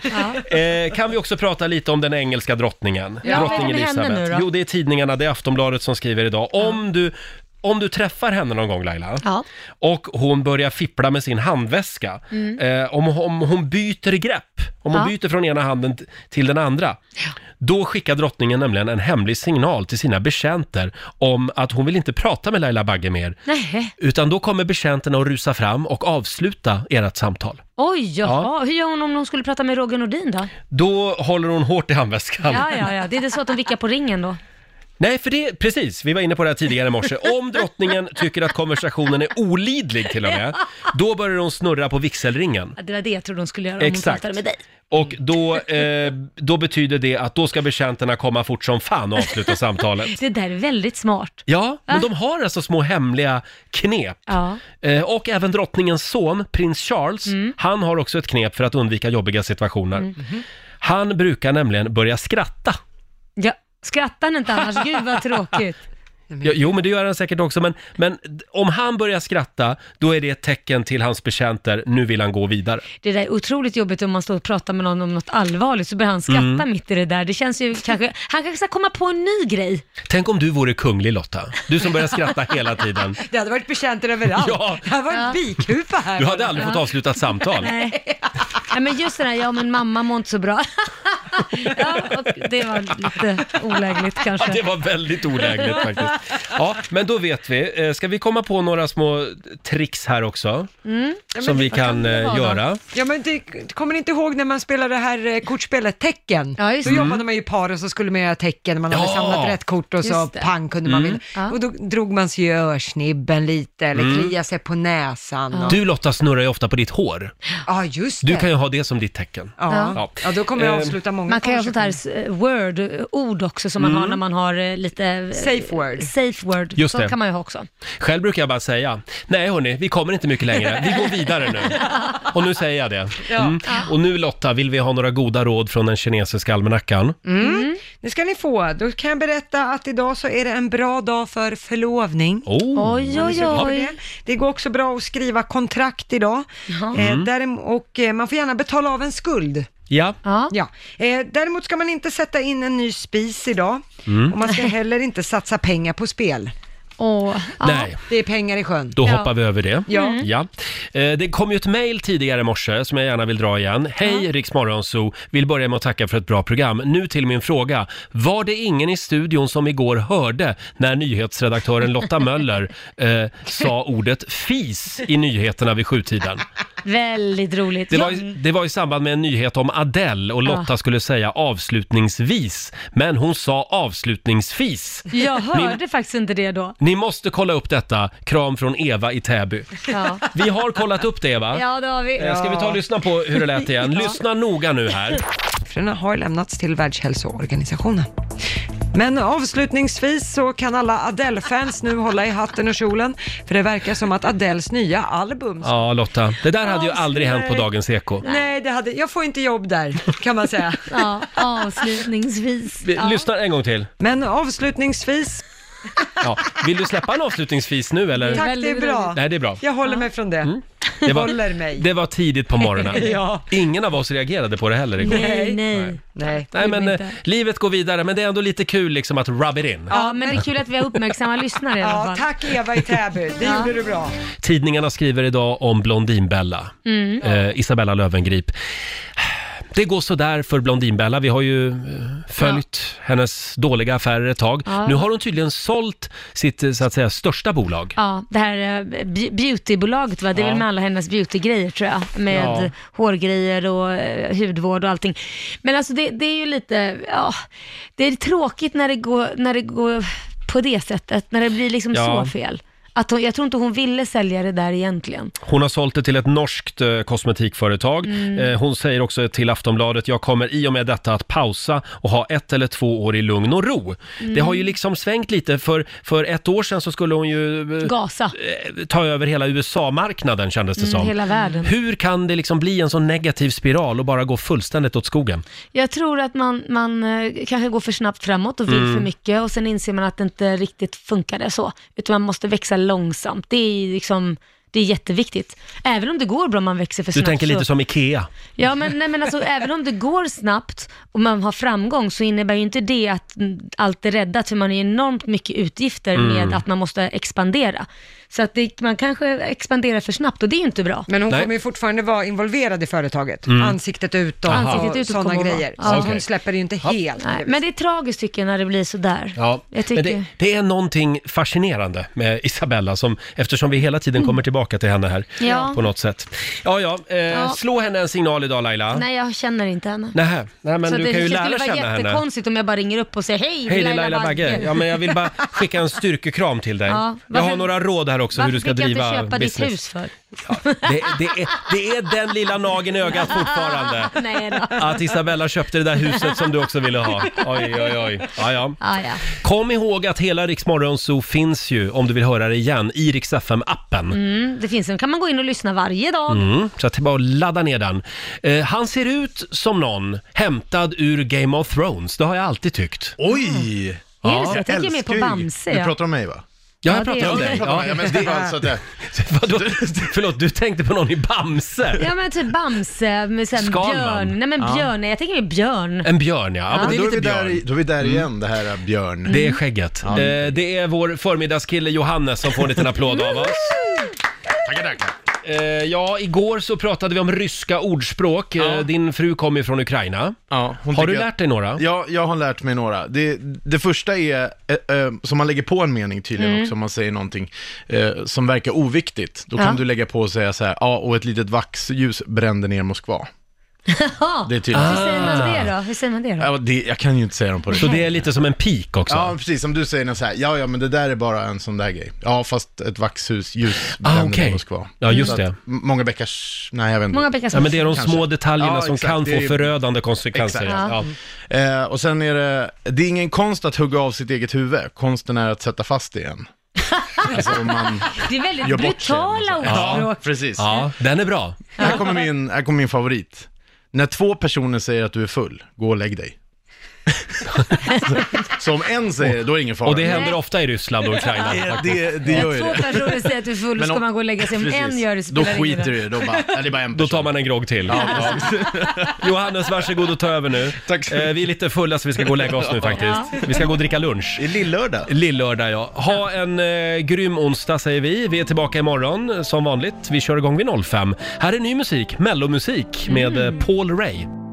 Eh, kan vi också prata lite om den engelska drottningen?
Ja,
Drottning
vad är det med henne
Elizabeth.
nu då?
Jo, det är tidningarna, det är Aftonbladet som skriver idag. Om du om du träffar henne någon gång Laila
Ja.
och hon börjar fippla med sin handväska, eh, om, om hon byter grepp, om hon
Mm. Ja.
byter från ena handen t- till den andra, då skickar drottningen nämligen en hemlig signal till sina betjänter om att hon vill inte prata med Laila Bagge mer,
Nej.
utan då kommer betjänterna att rusa fram och avsluta ert samtal.
Oj, jaha. Hur gör hon om hon skulle prata med Roger Nordin då?
Då håller hon hårt i handväskan.
Ja, ja, ja. Det är det så att de vickar på ringen då?
Nej, för det, precis, vi var inne på det här tidigare i morse. Om drottningen tycker att konversationen är olidlig till och med, då börjar hon snurra på vigselringen.
Ja, Det var det jag trodde hon skulle göra om hon
Exakt.
pratade med dig.
Och då, eh, då betyder det att då ska betjänterna komma fort som fan och avsluta samtalet.
Det där är väldigt smart.
Ja, men de har alltså små hemliga knep.
Ja.
Eh, och även drottningens son, prins Charles, han har också ett knep för Mm. Mm-hmm. att undvika jobbiga situationer. Han brukar nämligen börja skratta.
ja. Skrattar han inte annars? Gud vad tråkigt.
Jo, jo, men det gör han säkert också. Men, men d- om han börjar skratta, då är det ett tecken till hans betjänter. Nu vill han gå vidare.
Det där är otroligt jobbigt om man står och pratar med någon om något allvarligt så börjar han skratta
Mm.
mitt i det där. Det känns ju kanske, han kanske ska komma på en ny grej.
Tänk om du vore kunglig Lotta. Du som börjar skratta hela tiden.
Det hade varit betjänter överallt.
Ja.
Det hade varit
Ja.
bikhuva här.
Du hade aldrig fått avsluta ett samtal.
Nej. Nej, men just det där, ja men mamma mår inte så bra. ja, och det var lite olägligt kanske.
Ja, det var väldigt olägligt faktiskt. Ja, men då vet vi. Eh, Ska vi komma på några små tricks här också?
Mm.
Som vi kan,
det
eh,
vara?
göra.
Ja, men det, kommer ni inte ihåg när man spelade det här eh, kortspelet tecken? Ja,
just
då
det.
jobbade man ju i par och så skulle man göra tecken, man hade
Ja.
samlat rätt kort och så
Just det.
pang kunde man
Mm.
vinna. Och då drog man sig i örsnibben lite eller
Mm.
klia sig på näsan. Och,
Du Lotta snurrar ju ofta på ditt hår.
ja, just det.
Du kan ju ha det som ditt tecken.
Ja. Ja. då kommer jag
Eh,
avsluta många
Man kan ju ha sånt här eh, word-ord också som man
Mm.
har när man har eh, lite...
Safe word.
Safe word.
Just
Sånt
det.
kan man ju ha också.
Själv brukar jag bara säga, nej hörni, vi kommer inte mycket längre, vi går vidare nu. Och nu säger jag det.
Ja.
Mm. Och nu Lotta, vill vi ha några goda råd från den kinesiska almanackan?
Mm. Det ska ni få. Då kan jag berätta att idag så är det en bra dag för förlovning.
Oh.
Oj,
Är ni
oj,
sugna på
oj.
det? Det går också bra att skriva kontrakt idag. Eh,
Mm.
därem- och eh, man får gärna betala av en skuld.
Ja.
Ja.
Ja. Eh, däremot ska man inte sätta in en ny spis idag.
Mm.
Och man ska heller inte satsa pengar på spel.
Åh. ja.
Nej,
Det är pengar i sjön.
då
Ja. Mm.
hoppar vi över det. Mm.
Ja.
Ja. Eh, Det kom ju ett mejl tidigare i morse som jag gärna vill dra igen. Hej Riksmorgonzoo, vill börja med att tacka för ett bra program. Nu till min fråga. Var det ingen i studion som igår hörde när nyhetsredaktören Lotta Möller eh, sa ordet fis i nyheterna vid sjutiden?
Väldigt roligt.
Det
Ja.
var, i, det var i samband med en nyhet om Adele och Lotta
Ja.
skulle säga avslutningsvis, men hon sa avslutningsfis.
Jag hörde faktiskt inte det då.
Ni måste kolla upp detta. Kram från Eva i Täby.
Ja,
Vi har kollat upp det Eva.
ja det har vi.
Eh, Ska vi ta och lyssna på hur det lät igen? Lyssna noga nu här.
Siffrorna har lämnats till Världshälsoorganisationen. Men avslutningsvis så kan alla Adele-fans nu hålla i hatten och kjolen, för det verkar som att Adeles nya album...
Ja Lotta, det där hade ju
Alltså,
aldrig hänt på
nej.
Dagens Eko.
Nej, det hade, jag får inte jobb där, kan man säga.
Ja, avslutningsvis.
Vi
Ja.
lyssnar en gång till.
Men avslutningsvis,
Ja. Vill du släppa en avslutningsfis nu eller?
tack det är
väldigt
bra.
roligt.
Nej, det är bra.
Jag håller mig från det.
Mm. Det var,
Håller mig.
det var tidigt på morgonen.
Ja.
Ingen av oss reagerade på det heller igår.
Nej, nej.
Nej.
Nej, men
inte.
eh, livet går vidare, men det är ändå lite kul liksom att rub it in.
Ja, men det är kul att vi har uppmärksamma lyssnare i alla
Ja,
fall.
tack Eva i Täby, det gjorde du bra.
Tidningarna skriver idag om Blondinbella,
Mm.
eh, Isabella Lövengrip. Det går sådär för Blondinbella. Vi har ju eh, följt hennes dåliga affärer ett tag.
Ja.
Nu har hon tydligen sålt sitt, eh, så att säga, största bolag.
Ja, det här eh, be- beautybolaget va, det är
Ja.
väl med alla hennes beautygrejer tror jag. Med
Ja.
hårgrejer och eh, hudvård och allting. Men alltså det, det är ju lite, ja, det är tråkigt när det går, när det går på det sättet, när det blir liksom
Ja.
så fel. Att hon, jag tror inte hon ville sälja det där egentligen.
Hon har sålt det till ett norskt eh, kosmetikföretag.
Mm.
Eh, hon säger också till Aftonbladet, jag kommer i och med detta att pausa och ha ett eller två år i lugn och ro.
Mm.
Det har ju liksom svängt lite, för, för ett år sedan så skulle hon ju... eh,
Gasa,
eh, ta över hela USA-marknaden kändes det
mm,
som.
hela världen.
Hur kan det liksom bli en sån negativ spiral och bara gå fullständigt åt skogen?
Jag tror att man, man eh, kanske går för snabbt framåt och vill
Mm.
för mycket och sen inser man att det inte riktigt funkade så. Utan man måste växa långsamt. Det är liksom det är jätteviktigt. Även om det går bra om man växer för
Du
snabbt.
tänker lite
så...
som Ikea.
Ja, men, nej, men alltså, även om det går snabbt och man har framgång så innebär ju inte det att mm, allt är räddat, för man har ju enormt mycket utgifter
Mm.
med att man måste expandera. Så att det, man kanske expanderar för snabbt och det är ju inte bra.
Men hon
Nej. Mm.
kommer ju fortfarande vara involverad i företaget. Ansiktet utåt
Ansiktet
och
utåt
sådana
kommer hon vara.
grejer.
Ja.
Så att
Okej.
hon släpper det ju inte helt.
Nej, men det är tragiskt tycker jag när det blir sådär.
Ja,
jag
men
tycker...
det, det är någonting fascinerande med Isabella, som, eftersom vi hela tiden kommer tillbaka till henne här
Mm. Ja.
på något sätt. Ja, ja, eh, slå henne en signal idag Laila.
Nej, jag känner inte henne.
Nähä. Nej, men
så
du
det,
kan ju
det
lära
skulle
känna
vara
henne.
jättekonstigt om jag bara ringer upp och säger hej,
Hej det är Laila Bagge. Ja,
Ja,
men jag vill bara skicka en styrkekram till dig.
Ja,
jag har
varför-
några råd här också hur
Varför
du ska
fick jag
driva
inte köpa ditt
business.
hus för?
Det, det, är, det är den lilla nageln i ögat fortfarande.
Ah, Nej då.
Att Isabella köpte det där huset som du också ville ha. Oj, oj, oj. Ja, ja.
Ah, ja.
Kom ihåg att hela Riksmorgon Zoo finns ju, om du vill höra det igen, i Rix FM-appen.
den, Mm, det finns den kan man gå in och lyssna varje dag.
Mm, så att det är bara att ladda ner den. Eh, han ser ut som någon hämtad ur Game of Thrones, det har jag alltid tyckt.
Oj!
Är det så? Jag tänker mer på Bamse,
Du
ja.
pratar om mig va?
Ja,
Ja,
jag
det
pratar om
är-
dig.
Jag pratar om mig, ja, men jag ska bara så att jag...
Vadå? Förlåt, du tänkte på någon i Bamse?
Ja men typ Bamse, med sen
Skalman.
björn. Nej men björn, nej, jag tänker mer björn.
En björn ja, ja. Men det är
Då är vi
lite
där,
björn.
i- då är vi där igen, det här eh, Björn.
Det är skägget. Eh, det är vår förmiddagskille Johannes som får en liten applåd av oss.
Tackar, tackar.
Eh, ja, igår så pratade vi om ryska ordspråk. Eh, din fru kommer ju från Ukraina.
Ja, hon
Har du
tycker att-
lärt dig några?
Ja, jag har lärt mig några. Det, det första är, eh, eh, som man lägger på en mening tydligen också, om man säger någonting eh, som verkar oviktigt. Då
Ja.
kan du lägga på och säga så här, ja, och ett litet vaxljus brände ner Moskva.
Jaha,
Det är tydligt.
hur säger man det då? Hur säger man det då?
Ja, det, jag kan ju inte säga dem på det.
Ah. Så det är lite som en pik också?
Ja, precis som du säger, när så här, ja, ja, men det där är bara en sån där grej. Ja, fast ett vaxhus, ljus brände
Ah,
ner
okej.
Moskva.
Ja, just
Så att
det.
m- Många bäckars, nej jag vet inte.
Många bäckar små.
Ja, men det är de
Kanske.
små detaljerna
Ja,
som
exakt.
kan
Det
få
är-
förödande konsekvenser.
Exakt.
Ja.
Eh, och sen är det, det är ingen konst att hugga av sitt eget huvud, konsten är att sätta fast det igen. alltså om man
Det är väldigt
gör bort sig.
brutala
Ja,
ordspråk.
precis.
ja, den är bra.
Här, kommer min, här kommer min favorit. När två personer säger att du är full, gå och lägg dig. så, så om en säger det, då är det ingen fara.
Och det händer ofta i Ryssland och Ukraina.
det, det, det gör ju
Två
det.
personer säger att du är full,
Men
ska
om-
man gå och lägga sig. Om
Precis.
en gör det
Då
spelar ingen
skiter
roll.
du i det, då bara, eller det är bara en
Då
person.
tar man en grogg till. Johannes, varsågod och ta över nu.
Tack.
Eh, vi är lite fulla så vi ska gå och lägga oss nu faktiskt. Vi ska gå och dricka lunch.
Det är lillördag.
Lillördag ja. Ha en eh, grym onsdag säger vi. Vi är tillbaka imorgon eh, som vanligt. Vi kör igång vid 05. Här är ny musik, mellomusik med eh, Paul Ray.